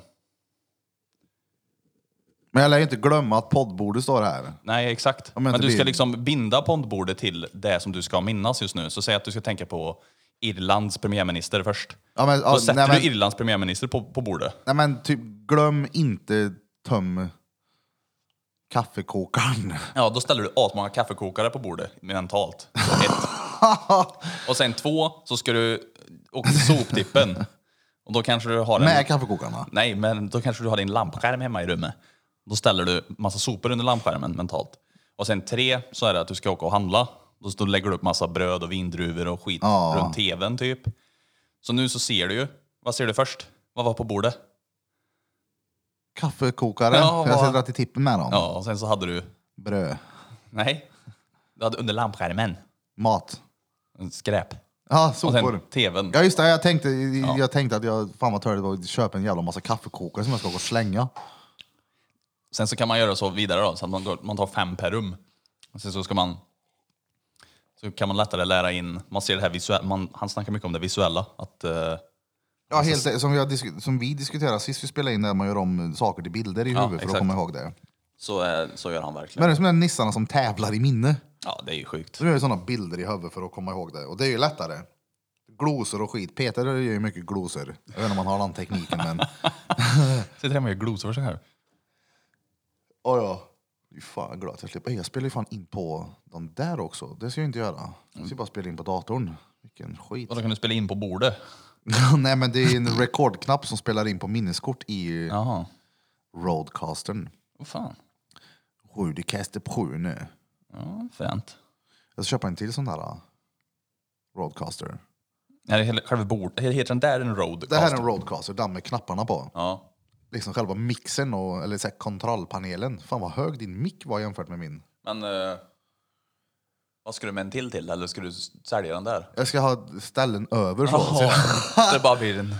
Men jag lär ju inte glömma att poddbordet står här. nej, exakt. Ja, men men det du ska blir- liksom binda pondbordet till det som du ska minnas just nu. Så säg att du ska tänka på Irlands premiärminister först. Ja, men, Då ja, sätter nej, men, du Irlands premiärminister på, på bordet. nej, men typ glöm inte töm kaffekokaren. Ja, då ställer du asmånga kaffekokare på bordet mentalt. Ett. och sen två, så ska du åka till soptippen. Och då kanske du har en... Med kaffekokaren va? Nej, men då kanske du har din lampskärm hemma i rummet. Då ställer du massa sopor under lampskärmen mentalt. Och sen tre, så är det att du ska åka och handla. Då står- lägger du upp massa bröd och vindruvor och skit Ja. runt tvn typ. Så nu så ser du ju. Vad ser du först? Vad var på bordet? Kaffekokare. Ja, jag va. ska dra till tippen med dem. Ja, och sen så hade du... Bröd. Nej. Du hade under lampskärmen. Mat. Skräp. Ja, Och sopor. sen tvn. Ja just det, jag tänkte, jag tänkte att jag fan vad törligt det var att köpa en jävla massa kaffekokare som jag ska gå och slänga. Sen så kan man göra så vidare då, så att man, går, man tar fem per rum. Och sen så ska man... Så kan man lättare lära in, man ser det här visuella, man, han snackar mycket om det visuella. Att, eh, Ja, helt, som, jag, disk- som vi diskuterade sist vi spelade in där man gör om saker till bilder i huvudet för att exakt. komma ihåg det. så, är, så gör han verkligen. Men det är som de där nissarna som tävlar i minne. ja, det är ju sjukt. Så gör ju sådana bilder i huvudet för att komma ihåg det. Och det är ju lättare. Glosor och skit. Peter gör ju mycket glosor. Jag vet inte om han har den tekniken men... Sitter hemma och gör glosor så här. Oh, ja. Fy fan vad glad att jag slipper. Jag spelar ju fan in på den där också. Det ska jag ju inte göra. Jag ska ju bara spela in på datorn. Vilken skit. Och då kan du spela in på bordet. Nej men det är ju en rekordknapp som spelar in på minneskort i Jaha. roadcastern. Vad fan. Sju, det kastar på sju nu. Ja, fränt. Jag ska köpa en till sån där uh, roadcaster. Är det hela, själva bordet? Heter den där en road? Det här är en roadcaster, den med knapparna på. Ja. Liksom själva mixen och eller så här, kontrollpanelen. Fan vad hög din mick var jämfört med min. Men eh, Vad ska du med en till till? Eller ska du s- sälja den där? Jag ska ha ställen över så. så jag, det bara blir en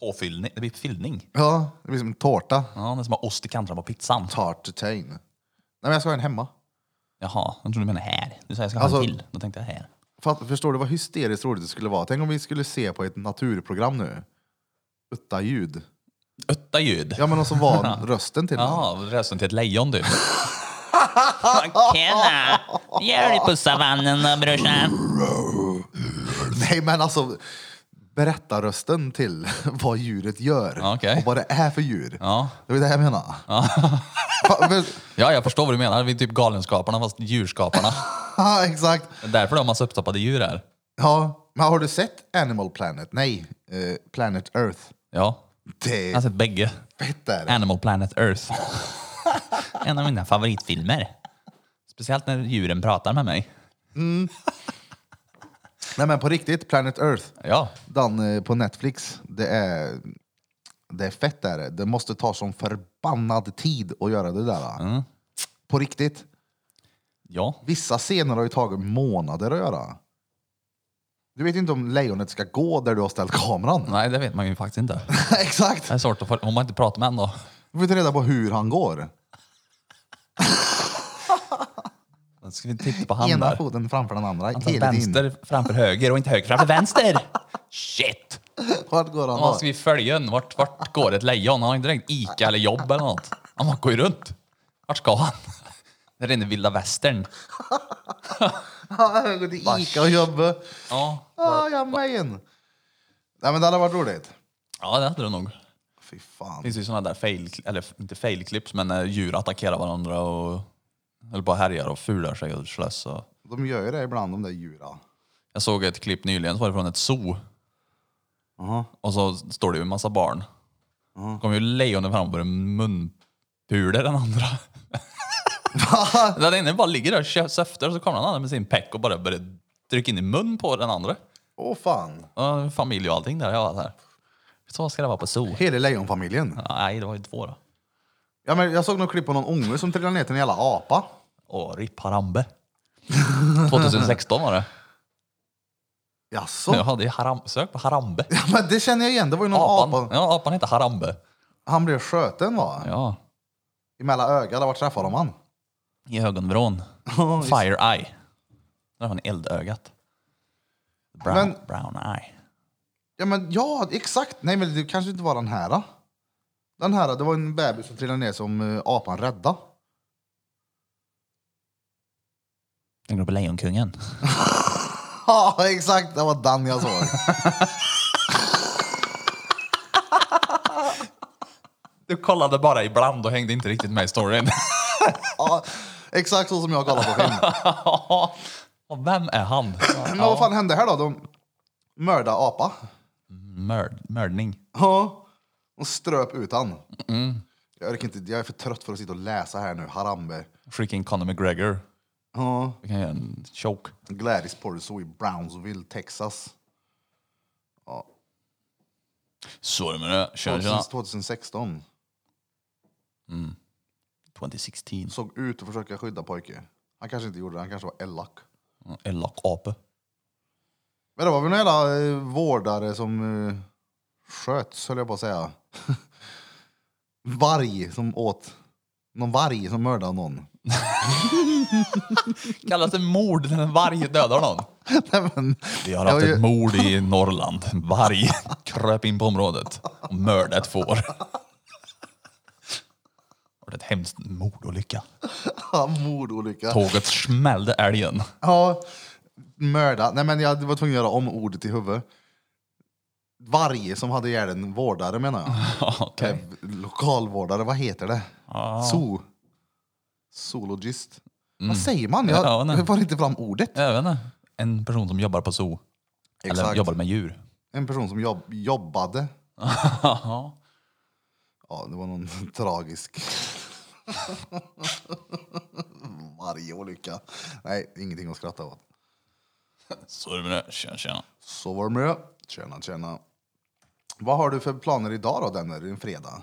påfyllning. Det blir fyllning. ja, det blir som en tårta. Ja, det är som att ha ost i kanterna på pizzan. Tartetain. Nej men jag ska ha en hemma. Jaha, jag trodde du menade här. Du sa jag ska ha Alltså- en till. Då tänkte jag här. Fatt, förstår du vad hysteriskt roligt det skulle vara? Tänk om vi skulle se på ett naturprogram nu. Utta ljud. Ötta ljud. Ja men och så var rösten till den. Ja, resten till ett lejon typ. Tjena! Gör det på savannen då brorsan. Nej men alltså, berätta rösten till vad djuret gör. Okej. Och vad det är för djur. Ja. Det var det jag menade. Ja. men, ja, jag förstår vad du menar. Vi är typ Galenskaparna fast djurskaparna. ja, exakt. Det är därför de har massa upptappade djur här. Ja, men har du sett Animal Planet? Nej, eh, Planet Earth. Ja, Det jag har är sett bägge. fett där. Animal Planet Earth. en av mina favoritfilmer. Speciellt när djuren pratar med mig. Nej men på riktigt, Planet Earth. Ja, Den eh, på Netflix, det är, det är fett där. Det måste ta som förbannad tid att göra det där. Mm. På riktigt. ja. Vissa scener har ju tagit månader att göra. Du vet inte om lejonet ska gå där du har ställt kameran. Nej, det vet man ju faktiskt inte. Exakt! Det är svårt att få, om man inte pratar med en då. Du får inte reda på hur han går. Då ska vi titta på han Ena där. foten framför den andra. Han tar Hela tiden. vänster framför höger och inte höger framför vänster. Shit! Vart går han Vad då? ska vi följa en? Vart, vart går ett lejon? Han har inte direkt Ica eller jobb eller något. Han bara går ju runt. Vart ska han? Det är rena vilda västern. Ja, jag går till Ica och jobbar. Ja, Ah, jag med igen. Nej men det hade varit roligt. ja det hade det nog. Fy fan. Det finns ju sådana där fail, eller inte fail-clips, men när djur attackerar varandra och eller bara härjar och fular sig och slåss. Och. De gör ju det ibland de där djuren. Jag såg ett klipp nyligen, så var det från ett zoo. Och så står det ju en massa barn. uh kommer ju lejonen fram och börjar munpula den andra. den ena bara ligger där och kö- söfter och så kommer den andra med sin peck och bara börjar trycka in i mun på den andra. Åh fan. Och familj och allting där. Jag var så här. Så ska det vara på zoo. Hela lejonfamiljen. Nej, det var ju två då. Ja, men jag såg något klipp på någon unge som trillade ner till en jävla apa. Åh, RIP Harambe. 2016 var det. Jaså? Jag Ja. hade ju haram- sök på Harambe. Men det känner jag igen, det var ju någon Apan. apa. Ja, apan heter Harambe. Han blev sköten va? Ja, I mellan ögat, var träffade de han? i ögonvrån. Fire eye. Det var en eldögat. Brown, Men- brown eye. Ja, men ja, exakt. Nej, men det kanske inte var den här. då. Den här, det var en bebis som trillade ner som eh, apan rädda. Den går på Lejonkungen. Ja, exakt. Det var den jag såg. Du kollade bara ibland och hängde inte riktigt med i storyn. ja, exakt så som jag kollar på film. och vem är han? Men vad fan hände här då? De mördade apa. Mörd, mördning. Ja. Mm. De ströp ut han. Jag, orkar inte, jag är för trött för att sitta och läsa här nu. Harambe. Freaking Conor McGregor. Ja. Vi kan göra en choke. Gladys Porso i Brownsville, Texas. Så är det med det. Tjena, tjena. 2016. 2016. Såg ut att försöka skydda pojke. Han kanske inte gjorde det, han kanske var elak. Elak ape. Men det var väl någon jävla eh, vårdare som eh, sköts, höll jag på att säga. varg som åt... Någon varg som mördade någon. Kallas det mord när en varg dödar någon? Nej, men, Vi har Jag haft var ju- ett mord i Norrland. En varg kröp in på området och mördade ett får. Och det är ett hemskt mordolycka. fan, mordolycka. Tåget smällde älgen. Ja, mörda. Nej men jag var tvungen att göra om ordet i huvudet. Varg som hade ihjäl en vårdare menar jag. Okej. Eh, Lokalvårdare, vad heter det? Zoo. Zoologist. Vad säger man? Jag, Mm. Ja, nej. jag får inte fram ordet. Jag vet inte. En person som jobbar på zoo. Eller Exakt. jobbar med djur. En person som jobb, jobbade. Ja, det var någon tragisk... Varje olycka. Nej, ingenting att skratta åt. Så är det med det. Tjena, tjena. Så var det med det. Tjena, tjena. Vad har du för planer idag då, Denner? Det är en fredag.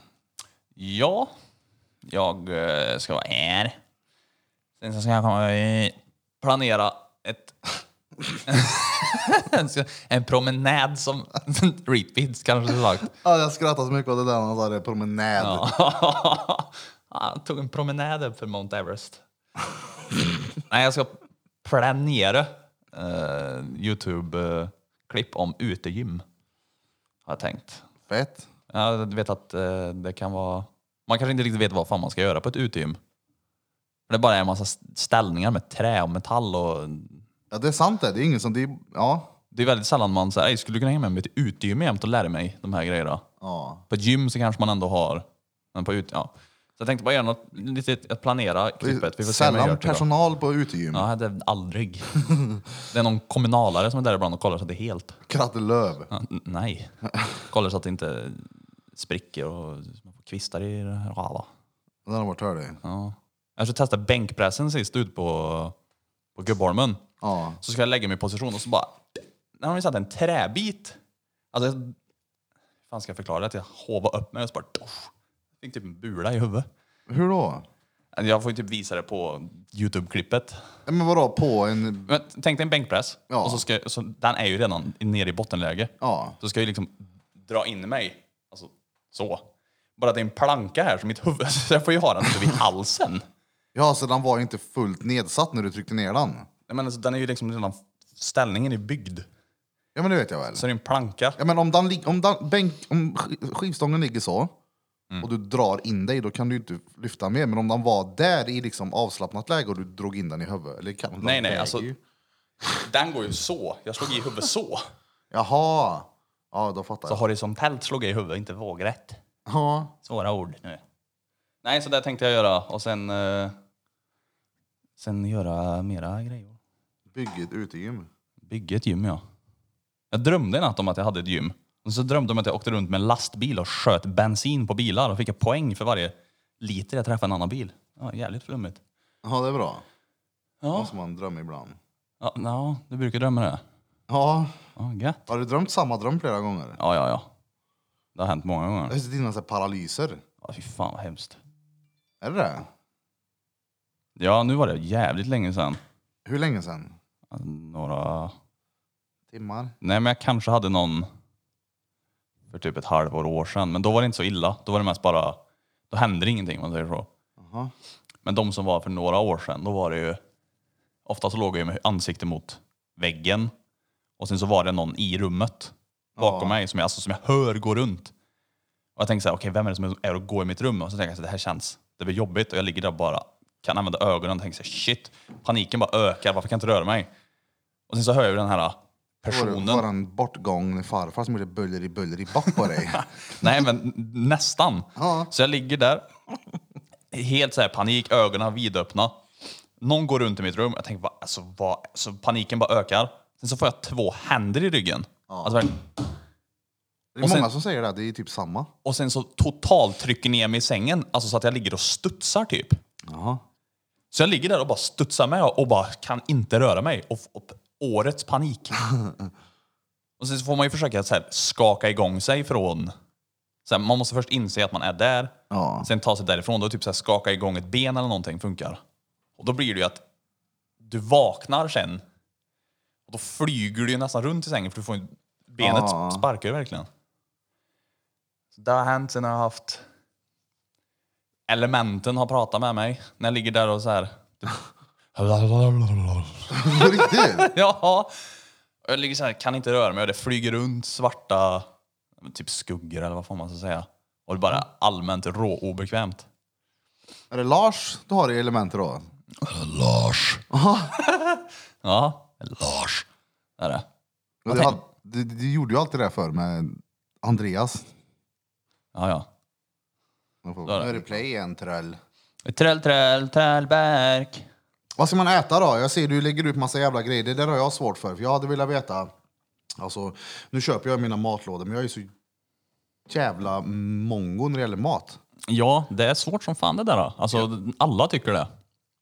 Ja, jag eh, ska vara här. Sen så ska jag komma hit planera ett... en promenad som Repeats kanske sagt. Ja, jag skrattade så mycket åt det där när han sa det, promenad. Ja. Han tog en promenad upp för Mount Everest. Nej, jag ska planera eh, Youtube-klipp om utegym. Har jag tänkt. Fett. Ja, du vet att eh, det kan vara... Man kanske inte riktigt vet vad fan man ska göra på ett utegym. För Det bara är en massa st- ställningar med trä och metall och... Ja, det är sant det. Det är ingen som... Det är, ja. Det är väldigt sällan man säger, "Ey, skulle du kunna hänga med mig till utegym jämt och lära mig de här grejerna? ja. På ett gym så kanske man ändå har... Men på ut, ja. Så jag tänkte bara göra något, lite, att planera klippet. Typ Vi får se om jag gör Sällan till då. personal på utegym. Ja, det är aldrig. det är någon kommunalare som är där ibland och kollar så att det är helt. Kratte Lööf. Ja, n- nej. Kollar så att det inte spricker och man får kvistar i det här. Ja, va. Den har varit hörlig. Ja. Jag ska testa bänkpressen sist ut på, på Gubbholmen. Ja. Så ska jag lägga mig i position och så bara... När de satt en träbit. Alltså, hur fan ska jag förklara det? Att jag hovade upp mig och så bara... Doff, fick typ en bula i huvudet. Hur då? Jag får ju typ visa det på Youtube-klippet. Ja, Men vadå, på en... Men tänk dig en bänkpress. Ja. Och så ska, så den är ju redan nere i bottenläge. Ja. Så ska jag ju liksom dra in mig. Alltså, så. Bara att det är en planka här så mitt huvud... Så jag får ju ha den uppe vid halsen. Ja, så den var inte fullt nedsatt när du tryckte ner den? Jag menar, så den är ju liksom redan... Ställningen är byggd. Ja, men det vet jag väl. Så det är en planka. Ja, men om, den, lig- om, den, bänk, om sk- skivstången ligger så Mm. och du drar in dig, då kan du ju inte lyfta mer. Men om den var där i liksom avslappnat läge och du drog in den i huvudet? Eller kan den Nej, nej, väger alltså- ju. Den går ju så. Jag slog i huvudet så. Jaha! Ja, då fattar Så jag. horisontellt slog jag i huvudet, inte vågrätt. Ja. Svåra ord nu. Nej, så det tänkte jag göra. Och sen... Eh, sen göra mera grejer. Bygget utegym. Bygga ett gym, ja. Jag drömde en natt om att jag hade ett gym. Och så drömde jag om att jag åkte runt med en lastbil och sköt bensin på bilar och fick en poäng för varje liter jag träffade en annan bil. Ja, jävligt flummigt. Ja, det är bra. Ja. Måste man drömma ibland. Ja, ja, du brukar drömma det. Ja. Ja, gött. Har du drömt samma dröm flera gånger? Ja, ja, ja. Det har hänt många Det gånger. är dina så här paralyser. Ja, fy fan vad hemskt. Är det det? Ja, nu var det jävligt länge sedan. Alltså, Hur länge sedan? Några... Timmar? Nej, men jag kanske hade någon för typ ett halvår, år sedan. Men då var det inte så illa. Då var det mest bara... Då hände det ingenting, om man säger så. Jaha. Men de som var för några år sedan, då var det ju... Ofta så låg jag ju med ansikte mot väggen. Och sen så var det någon i rummet bakom mig som jag, alltså, som jag hör gå runt. Och jag tänkte så här, okej vem är det som är och går i mitt rum? Och så tänker jag så här, det här känns, det blir jobbigt. Och jag ligger där och bara, kan använda ögonen och tänker så här, shit. Paniken bara ökar, varför kan jag inte röra mig? Och sen så hör jag ju den här Var personen. det var det en bortgången farfar som gjorde buller i buller i back på dig? Nej, men nästan. Ja. Så jag ligger där, helt så här panik, ögonen vidöppna. Någon går runt i mitt rum, jag tänker bara, alltså, vad, så paniken bara ökar. Sen så får jag två händer i ryggen. Alltså, verkligen. Det är Och sen- många som säger det, det är typ samma. och sen så totalt trycker ner mig i sängen, alltså så att jag ligger och studsar typ. Så jag ligger där och bara studsar med och bara kan inte röra mig. Och, och årets panik. och sen så får man ju försöka så här, skaka igång sig från... Så här, man måste först inse att man är där. Ja. Sen ta sig därifrån. Då typ så här, skaka igång ett ben eller någonting funkar. Och då blir det ju att du vaknar sen. Och då flyger du ju nästan runt i sängen för du får ju, benet Ja. sparkar ju verkligen. Så det har hänt sen jag har haft... Elementen har pratat med mig när jag ligger där och så här... På riktigt? Ja. Och Jag ligger så här, kan inte röra mig och det flyger runt svarta typ skuggor eller vad får man ska säga. Och det är bara allmänt råobekvämt. Är det Lars du har i elementet då? Lars. ja, Lars. Det är det. Du, hade, du, du gjorde ju alltid det för med Andreas. Ja, ja. Nu får- Ja, det- nu är det play igen tröll. Träll, träll, trällbärk. Vad ska man äta då? Jag ser du lägger ut massa jävla grejer. Det där har jag svårt för. För jag hade velat veta. Alltså, nu köper jag mina matlådor men jag är så jävla mongo när det gäller mat. Ja, det är svårt som fan det där. då. Alltså, alla tycker det.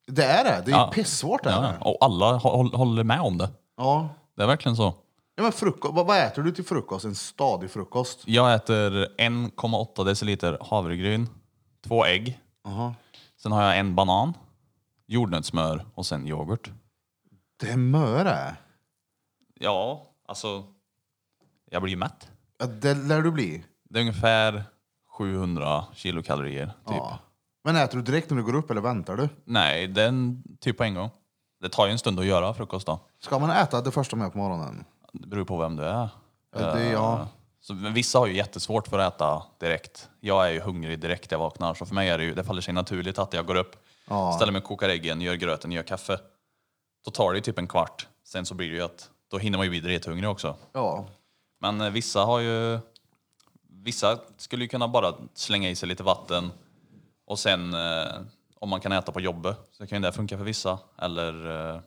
Det är det. Det är Ja. ju pissvårt det Ja. här. Och alla hå- håller med om det. Ja. Det är verkligen så. ja men frukost, vad, vad äter du till frukost? En stadig frukost? Jag äter 1,8 deciliter havregryn, två ägg. Sen har jag en banan, jordnötssmör och sen yoghurt. Det är Möre. Ja, alltså. Jag blir ju mätt. Ja, det lär du bli. Det är ungefär 700 kilokalorier. Typ. Ja. Men äter du direkt när du går upp eller väntar du? Nej, den typ på en gång. Det tar ju en stund att göra frukost då. Ska man äta det första med på morgonen? Det beror på vem du är. Ja, det- Eh, ja. Så, men vissa har ju jättesvårt för att äta direkt. Jag är ju hungrig direkt när jag vaknar, så för mig är det ju, det faller sig naturligt att jag går upp, Ja. ställer mig och kokar äggen, gör gröten, gör kaffe. Då tar det ju typ en kvart. Sen så blir det ju att, då hinner man ju bli drethungrig också. Ja. Men eh, vissa har ju... Vissa skulle ju kunna bara slänga i sig lite vatten och sen eh, om man kan äta på jobbet så kan ju det funka för vissa. Eller eh,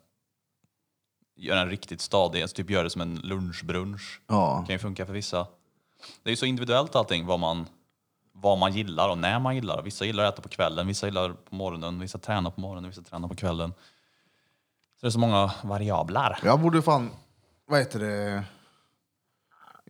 göra en riktigt stadig, alltså typ göra det som en lunchbrunch. Ja. Kan ju funka för vissa. Det är ju så individuellt allting vad man, vad man gillar och när man gillar. Vissa gillar att äta på kvällen, vissa gillar på morgonen, vissa tränar på morgonen, vissa tränar på kvällen. Så det är så många variabler. Jag borde fan, vad heter det,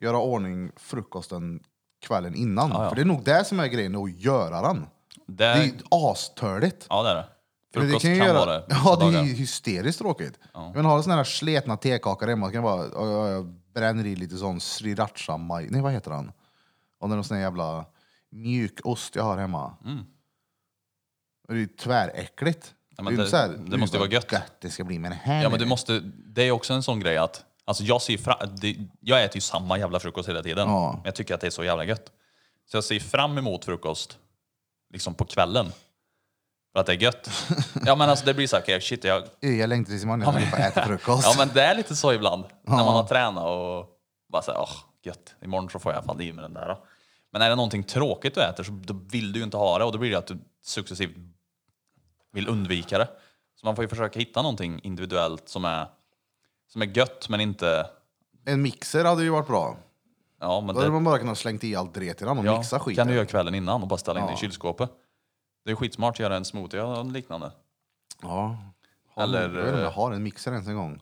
göra ordning frukosten kvällen innan. Ja, ja. För det är nog det som är grejen, att göra den. Det, Det är ju astörligt. Ja, det är det. Men Frukost ju kan, vara det. vissa Ja, det är dagar. ju hysteriskt tråkigt. Men har du såna här sletna tekakor hemma så kan jag bara ö, ö, ö, bränner i lite sån sriracha maj... Nej, vad heter den? Och det är någon sån här jävla mjukost jag har hemma. Och Det är ju tväräckligt. Mm. Ja, men är ju det- så här, det "Gud, måste ju vad vara gött." Det ska bli med det här Ja, men du nu. måste, det är också en sån grej att alltså jag, ser fra, det, jag äter ju samma jävla frukost hela tiden. Ja. Men jag tycker att det är så jävla gött. Så jag ser fram emot frukost liksom på kvällen. För att det är gött. ja, men alltså det blir så här, okay, shit, jag, Jag längtar tills imorgon jag ska få äta frukost. ja, men det är lite så ibland. När man har tränat och bara säger åh, gött, imorgon så får jag i alla fall i mig den där. Då. Men är det någonting tråkigt du äter så då vill du ju inte ha det och då blir det att du successivt vill undvika det. Så man får ju försöka hitta någonting individuellt som är, som är gött men inte... En mixer hade ju varit bra. Ja, men Då hade det, man bara kunnat slängt i allt dret i den och ja, mixa skiten. kan du göra kvällen innan och bara ställa in det i Ja. kylskåpet. Det är skitsmart att göra en smoothie eller något liknande. Ja. Har Eller, jag vet inte om jag eh, har en mixer ens en gång.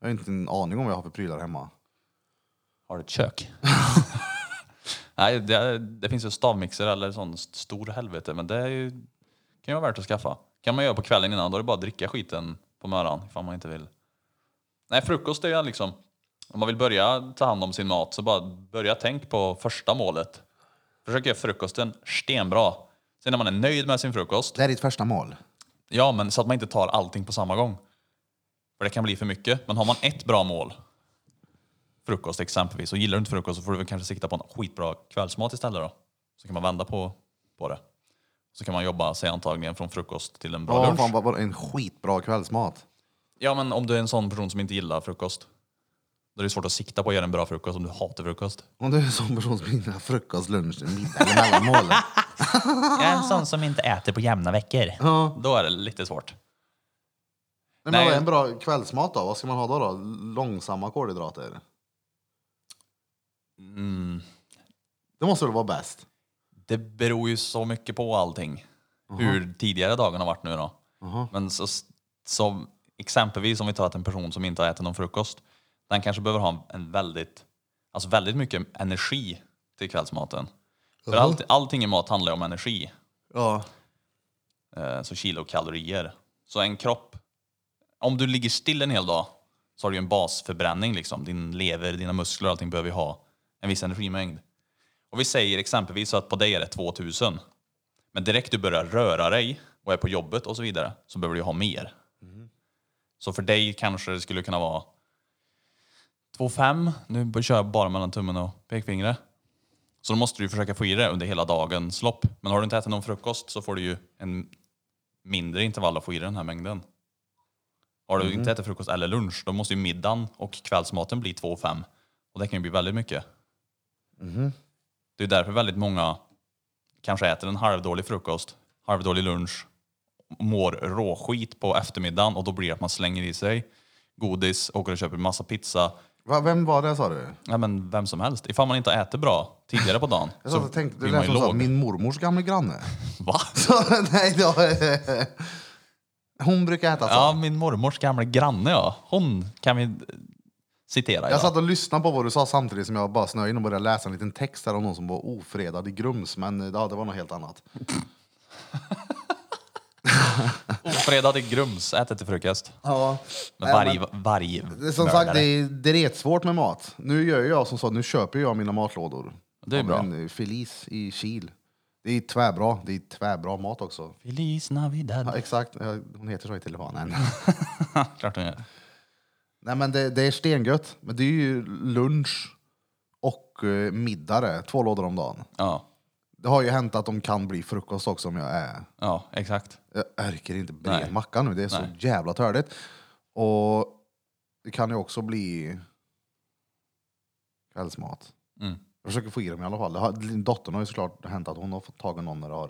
Jag har inte en aning om vad jag har för prylar hemma. Har du ett kök? Nej, det, det finns ju stavmixer eller sån st- stor helvete, men det är ju, kan ju vara värt att skaffa. Kan man göra på kvällen innan, då är det bara att dricka skiten på morgonen ifall man inte vill. Nej, frukost är ju liksom, om man vill börja ta hand om sin mat så bara börja tänk på första målet. Försök göra frukosten stenbra. Sen när man är nöjd med sin frukost, Det här är ditt första mål. Ja, men så att man inte tar allting på samma gång. För det kan bli för mycket. Men har man ett bra mål, frukost exempelvis, och gillar du inte frukost så får du väl kanske sikta på en skitbra kvällsmat istället då. Så kan man vända på, på det. Så kan man jobba sig antagligen från frukost till en bra Ja, lunch. fan, vad- vad- en skitbra kvällsmat. Ja, men om du är en sån person som inte gillar frukost, då är det svårt att sikta på att göra en bra frukost om du hatar frukost. Om du är en sån person som inte har frukost, lunch, middag eller mellanmål. Jag är en sån som inte äter på jämna veckor. Ja. Då är det lite svårt. Nej, Nej. men vad är en bra kvällsmat då? Vad ska man ha då? då? Långsamma kolhydrater? Mm. Det måste väl vara bäst? Det beror ju så mycket på allting. Hur tidigare dagen har varit nu då. Men så, som exempelvis om vi tar att en person som inte har ätit någon frukost. Den kanske behöver ha en väldigt, alltså väldigt mycket energi till kvällsmaten. För allt, allting i mat handlar ju om energi. Ja. Eh, så kilokalorier. Så en kropp, om du ligger still en hel dag så har du ju en basförbränning liksom. Din lever, dina muskler och allting behöver ju ha en viss energimängd. Och vi säger exempelvis att på dig är det 2000. Men direkt du börjar röra dig och är på jobbet och så vidare så behöver du ju ha mer. Så för dig kanske det skulle kunna vara 2,5. Nu kör jag bara mellan tummen och pekfingret. Så då måste du ju försöka få i det under hela dagens lopp. Men har du inte ätit någon frukost så får du ju en mindre intervall att få i den här mängden. Har du Mhm. inte ätit frukost eller lunch, då måste ju middagen och kvällsmaten bli 2 och 5. Och det kan ju bli väldigt mycket. Mhm. Det är därför väldigt många kanske äter en halvdålig frukost, halvdålig lunch, mår råskit på eftermiddagen och då blir det att man slänger i sig godis, åker och köper massa pizza. Va, vem var det sa du? Ja, men vem som helst. Ifall man inte äter bra tidigare på dagen Jag så satt och tänkte, det blir lät man ju som sa, låg. min mormors gamla granne. Va? Så, nej, då, hon brukar äta så. Ja, min mormors gamla granne ja. Hon kan vi eh, citera Jag idag. satt och lyssnade på vad du sa samtidigt som jag bara snöade in och började läsa en liten text där om någon som var ofredad i Grums, men ja, det var något helt annat. Fredag till Grums, äter till frukost. Ja. Med Nej, varg, men- varg Det är Som sagt, det är, det är rätt svårt med mat. Nu gör jag som sagt, nu köper jag mina matlådor. Det är Av bra. En Feliz i Kil. Det är tvärbra. Det är tvärbra mat också. Feliz Navidad. Ja, exakt, Ja, hon heter så i telefonen. Klart hon gör. Nej men det, det är stengött. Men det är ju lunch och eh, middag det. Två lådor om dagen. Ja, Det har ju hänt att de kan bli frukost också om jag är... ja, exakt. Jag orkar inte Nej. bred macka nu. Det är så Nej. jävla törligt. Och det kan ju också bli kvällsmat. Mm. Jag försöker få i dem i alla fall. Det har, dottern har ju såklart hänt att hon har fått tag i någon när det har,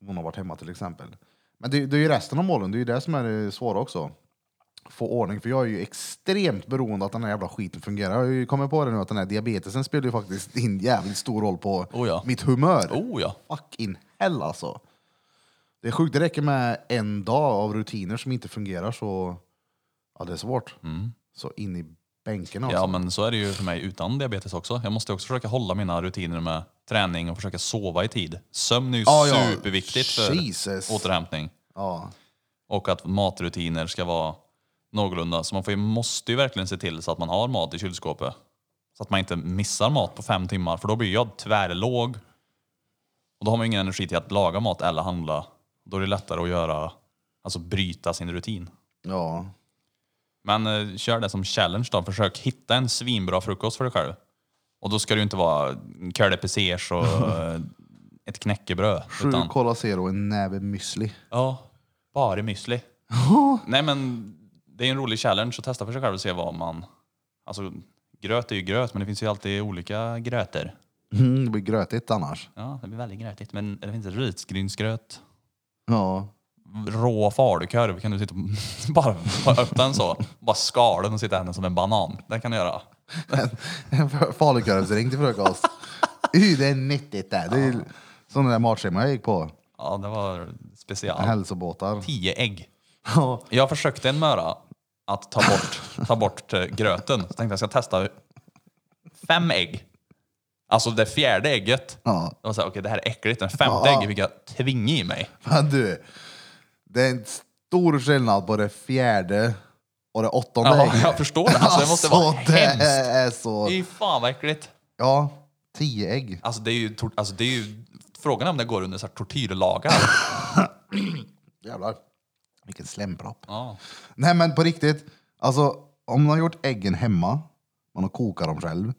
om hon har varit hemma till exempel. Men det, det är ju resten av målen, det är ju det som är det svåra också. Få ordning, för jag är ju extremt beroende av att den här jävla skiten fungerar. Jag har ju kommit på det nu att den här diabetesen spelar ju faktiskt in jävligt stor roll på Oh ja. mitt humör. Oh ja. Fuck in hell alltså. Det är sjukt, det räcker med en dag av rutiner som inte fungerar så... Ja, det är svårt. Så in i bänken alltså. Mm. Ja, men så är det ju för mig utan diabetes också. Jag måste också försöka hålla mina rutiner med träning och försöka sova i tid. Sömn är ju Ja, ja. superviktigt för Jesus. återhämtning. Ja. Och att matrutiner ska vara någorlunda. Så man får ju, måste ju verkligen se till så att man har mat i kylskåpet. Så att man inte missar mat på fem timmar, för då blir jag tvärlåg. Och då har man ju ingen energi till att laga mat eller handla. Då är det lättare att göra, alltså bryta sin rutin. ja. Men eh, kör det som challenge då. Försök hitta en svinbra frukost för dig själv. Och då ska det ju inte vara curly pesers och eh, ett knäckebröd. Sju Utan, Cola Zero och en näve müsli. ja, bara müsli. Nej men det är en rolig challenge att testa för sig själv och se vad man... Alltså gröt är ju gröt men det finns ju alltid olika gröter. Mm, det blir grötigt annars. Ja, det blir väldigt grötigt. Men det finns risgrynsgröt. Ja. Rå falukorv kan du sitta och bara, bara öppna den så. Bara skala den och sitta henne som en banan. Det kan du göra. En falukorvsring till frukost. Y, det är nyttigt det. Det är ju sån där matschema jag gick på. Ja, det var special. Hälsobåtar. Tio ägg. Ja. Jag försökte en möra att ta bort, ta bort eh, gröten. Så tänkte jag, jag ska testa fem ägg. Alltså det fjärde ägget. Ja. Jag var såhär, okej det här är äckligt. Den femte Ja. ägget fick jag tvinga i mig. Men du, det är en stor skillnad på det fjärde och det åttonde Ja, ägget. jag förstår det. Alltså, det måste vara det hemskt. är så... Fy fan vad äckligt. Ja, tio ägg. Alltså det är ju, tor- alltså, det är ju frågan är om det går under så här, tortyrlagar. Jävlar. Vilken slempropp. Ja. Nej men på riktigt, alltså om man har gjort äggen hemma, man har kokat dem själv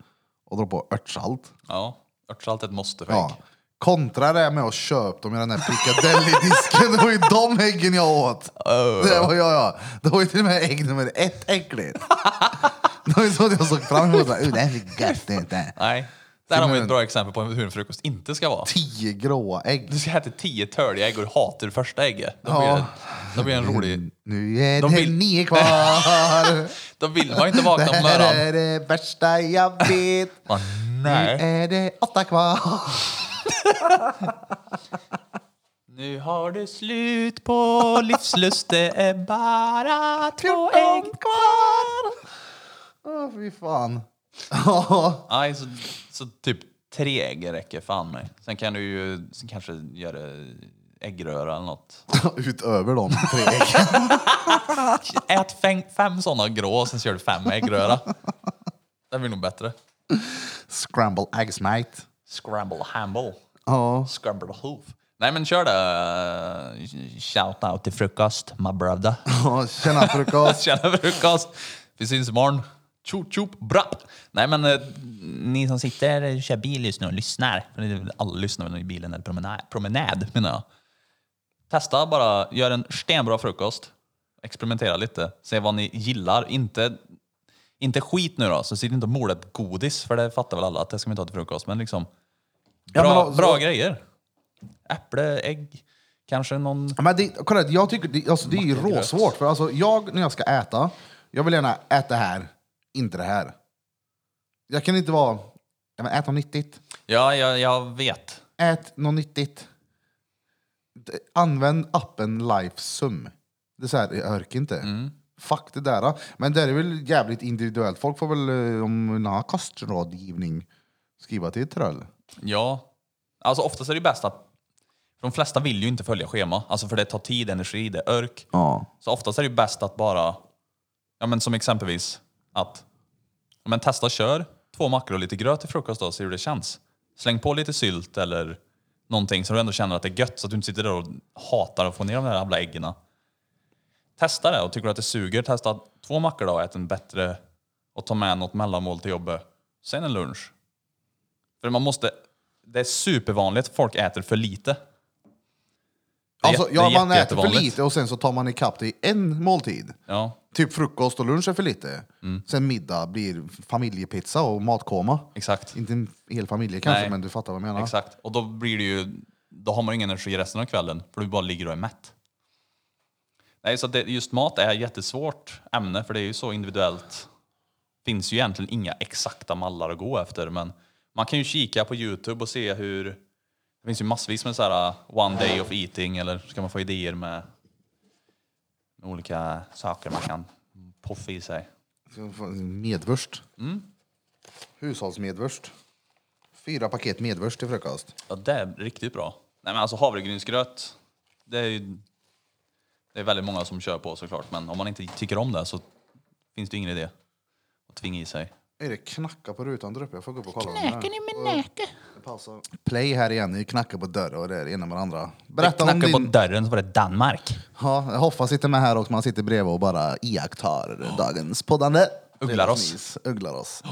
och drar på örtsalt. ja. Örtsalt är ett måste för ägg. Ja. Kontra det med att köpa dem i den här piccadilly-disken, det var ju de äggen jag åt. Oh. Det var jag ja. Det var ju till och med ägg nummer ett äckligt. det var ju så att jag såg fram emot det. "Uh, Det här är gött det inte. Nej. Där har vi ett bra exempel på hur en frukost inte ska vara. Tio gråa ägg. Du ska äta tio törliga ägg och du hatar det första ägget. Då blir, Ja. det, då blir det en rolig... Nu är De det vill- nio kvar. Då vill man inte vakna Det på här morgonen. är det värsta jag vet. Man, Nu nej. är det åtta kvar. Nu har du slut på livslust, det är bara två ägg kvar. Åh, fy fan. Nej, så, så typ tre ägg räcker fan mig. Sen kan du ju sen kanske göra äggröra eller något. Utöver de tre äggen. Ät fem, fem sådana grå och sen så gör du fem äggröra. Det blir nog bättre. Scramble eggs mate. Scramble hamble. Ja. Scramble hoof. Nej men kör det. Shout out till frukost, my brother. Ja, Tjena frukost. Tjena frukost! Vi syns imorgon. Tjo tjop brapp! Nej men eh, ni som sitter och kör bil just nu och lyssnar, för det är väl alla lyssnar väl i bilen eller promenad, promenad menar jag. Testa bara, gör en stenbra frukost. Experimentera lite, se vad ni gillar. Inte, inte skit nu då, så sitt inte och mola ett godis, för det fattar väl alla att det ska man inte ha till frukost. Men liksom, bra, men alltså- bra grejer. Äpple, ägg, kanske någon... Men det, kolla, jag tycker det, alltså, det är ju Mackagröt. råsvårt. För alltså, jag, när jag ska äta, jag vill gärna äta det här, inte det här. Jag kan inte vara, ja, men ät något nyttigt. Ja, jag, jag vet. Ät något nyttigt. D- Använd appen Lifesum. Det är så här, jag orkar inte. Mm. Fuck det där. Men det är väl jävligt individuellt. Folk får väl, eh, om man har kostrådgivning, skriva till ett troll. Ja. Alltså oftast är det bäst att För de flesta vill ju inte följa schema, alltså för det tar tid, energi, det är örk. Ja. Så oftast är det ju bäst att bara, ja men som exempelvis att, ja, men testa kör två mackor och lite gröt till frukost då, och se hur det känns. Släng på lite sylt eller någonting så du ändå känner att det är gött så att du inte sitter där och hatar att få ner de där jävla äggen. Testa det och tycker du att det suger, testa två mackor då och ät en bättre och ta med något mellanmål till jobbet. Sen en lunch. För man måste, det är supervanligt att folk äter för lite. Det är Alltså, jätte- ja, det är man äter för jättevanligt. lite och sen så tar man ikapp det i en måltid. Ja, Typ frukost och lunch är för lite. Mm. Sen middag blir familjepizza och matkoma. exakt. Inte en hel familj kanske, Nej. men du fattar vad jag menar. Exakt. Och då blir det ju, då har man ju ingen energi resten av kvällen för du bara ligger och är mätt. Nej, så att det, just mat är ett jättesvårt ämne för det är ju så individuellt. finns ju egentligen inga exakta mallar att gå efter men man kan ju kika på Youtube och se hur det finns ju massvis med så här uh, one day of eating eller ska man få idéer med, med olika saker man kan poffa i sig. Ska få en Medvurst. Mm. Hushållsmedvurst. Fyra paket medvurst till frukost. Ja, det är riktigt bra. Nej, men alltså havregrynsgröt, det är ju... Det är väldigt många som kör på såklart, men om man inte tycker om det så finns det ingen idé att tvinga i sig. Är det knacka på rutan där uppe? Jag får gå upp och kolla. Knäcker ni min näke? Play här igen, ni knackar på dörr och det är det ena med det andra. Berätta om Knacka din... på dörren så var det Danmark. Ja, Hoffa sitter med här och man sitter bredvid och bara iakttar dagens poddande. Ugglar oss. Precis, Ugglar oss.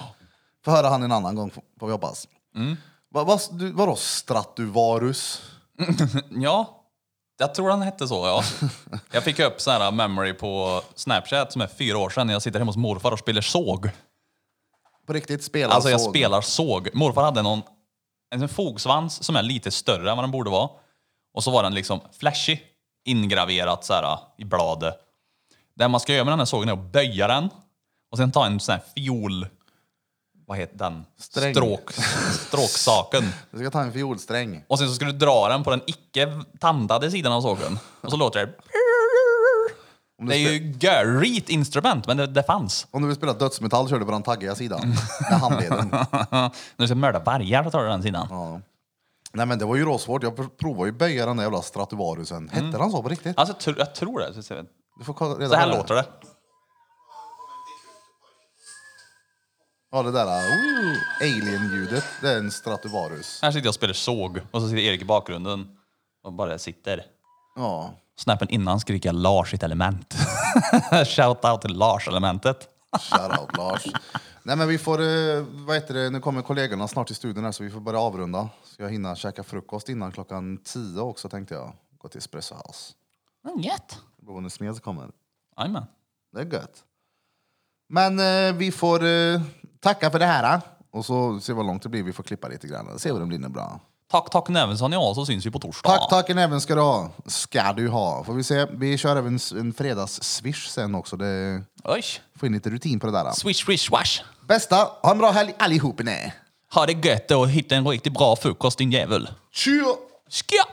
Får höra han en annan gång får vi hoppas. Mm. Va, va, du, vadå Stratuvarus? Ja, jag tror han hette så ja. Jag fick upp sån här memory på Snapchat som är fyra år sedan när jag sitter hemma hos morfar och spelar såg. På riktigt spelar Alltså jag såg. spelar såg. Morfar hade någon, en fogsvans som är lite större än vad den borde vara. Och så var den liksom flashig, ingraverat så här i bladet. Det man ska göra med den här sågen är att böja den och sen ta en sån här fiol... Vad heter den? Sträng. Stråk, stråksaken. Jag ska ta en fiolsträng. Och sen så ska du dra den på den icke tandade sidan av sågen. Och så låter det... Om du, Det är spe- ju görrit instrument, men det, det fanns. om du vill spela dödsmetall kör du på den taggiga sidan. Mm. Med handleden. När du ska mörda vargar så tar du den sidan. Ja. Nej men det var ju råsvårt. Jag pr- provade ju böja den där jävla stratuvarusen. Hette han så på riktigt? Alltså, jag tror- jag tror det. Så- så- Du får kolla reda Så här på låter det. Ja det där uh, alien-ljudet. Det är en stratuvarus. Här sitter jag och spelar såg och så sitter Erik i bakgrunden och bara sitter. Ja. Snappen innan skriker jag Lars sitt element. Shout out till Lars-elementet. Shoutout Lars. Nej men vi får, eh, vad heter det, nu kommer kollegorna snart till studion här så vi får börja avrunda. Ska jag hinna käka frukost innan klockan tio också tänkte jag. Gå till Espresso House. Gött. Boende Smeds kommer. Jajamän. Det är gött. Men eh, vi får eh, tacka för det här. eh. Och så se vad långt det blir, vi får klippa lite grann. Se vad det blir nu bra. Tack, tack Nävensson. Ja, så syns vi på torsdag. Tack, tacken även ska du ha. Ska du ha. Får vi se, vi kör även s- en fredags-swish sen också. Det, Oj. får in lite rutin på det där. eh. Swish, swish, swash. Bästa, ha en bra helg allihopa. Nej. Ha det gött och hitta en riktigt bra frukost din jävel. Tjur! Skja!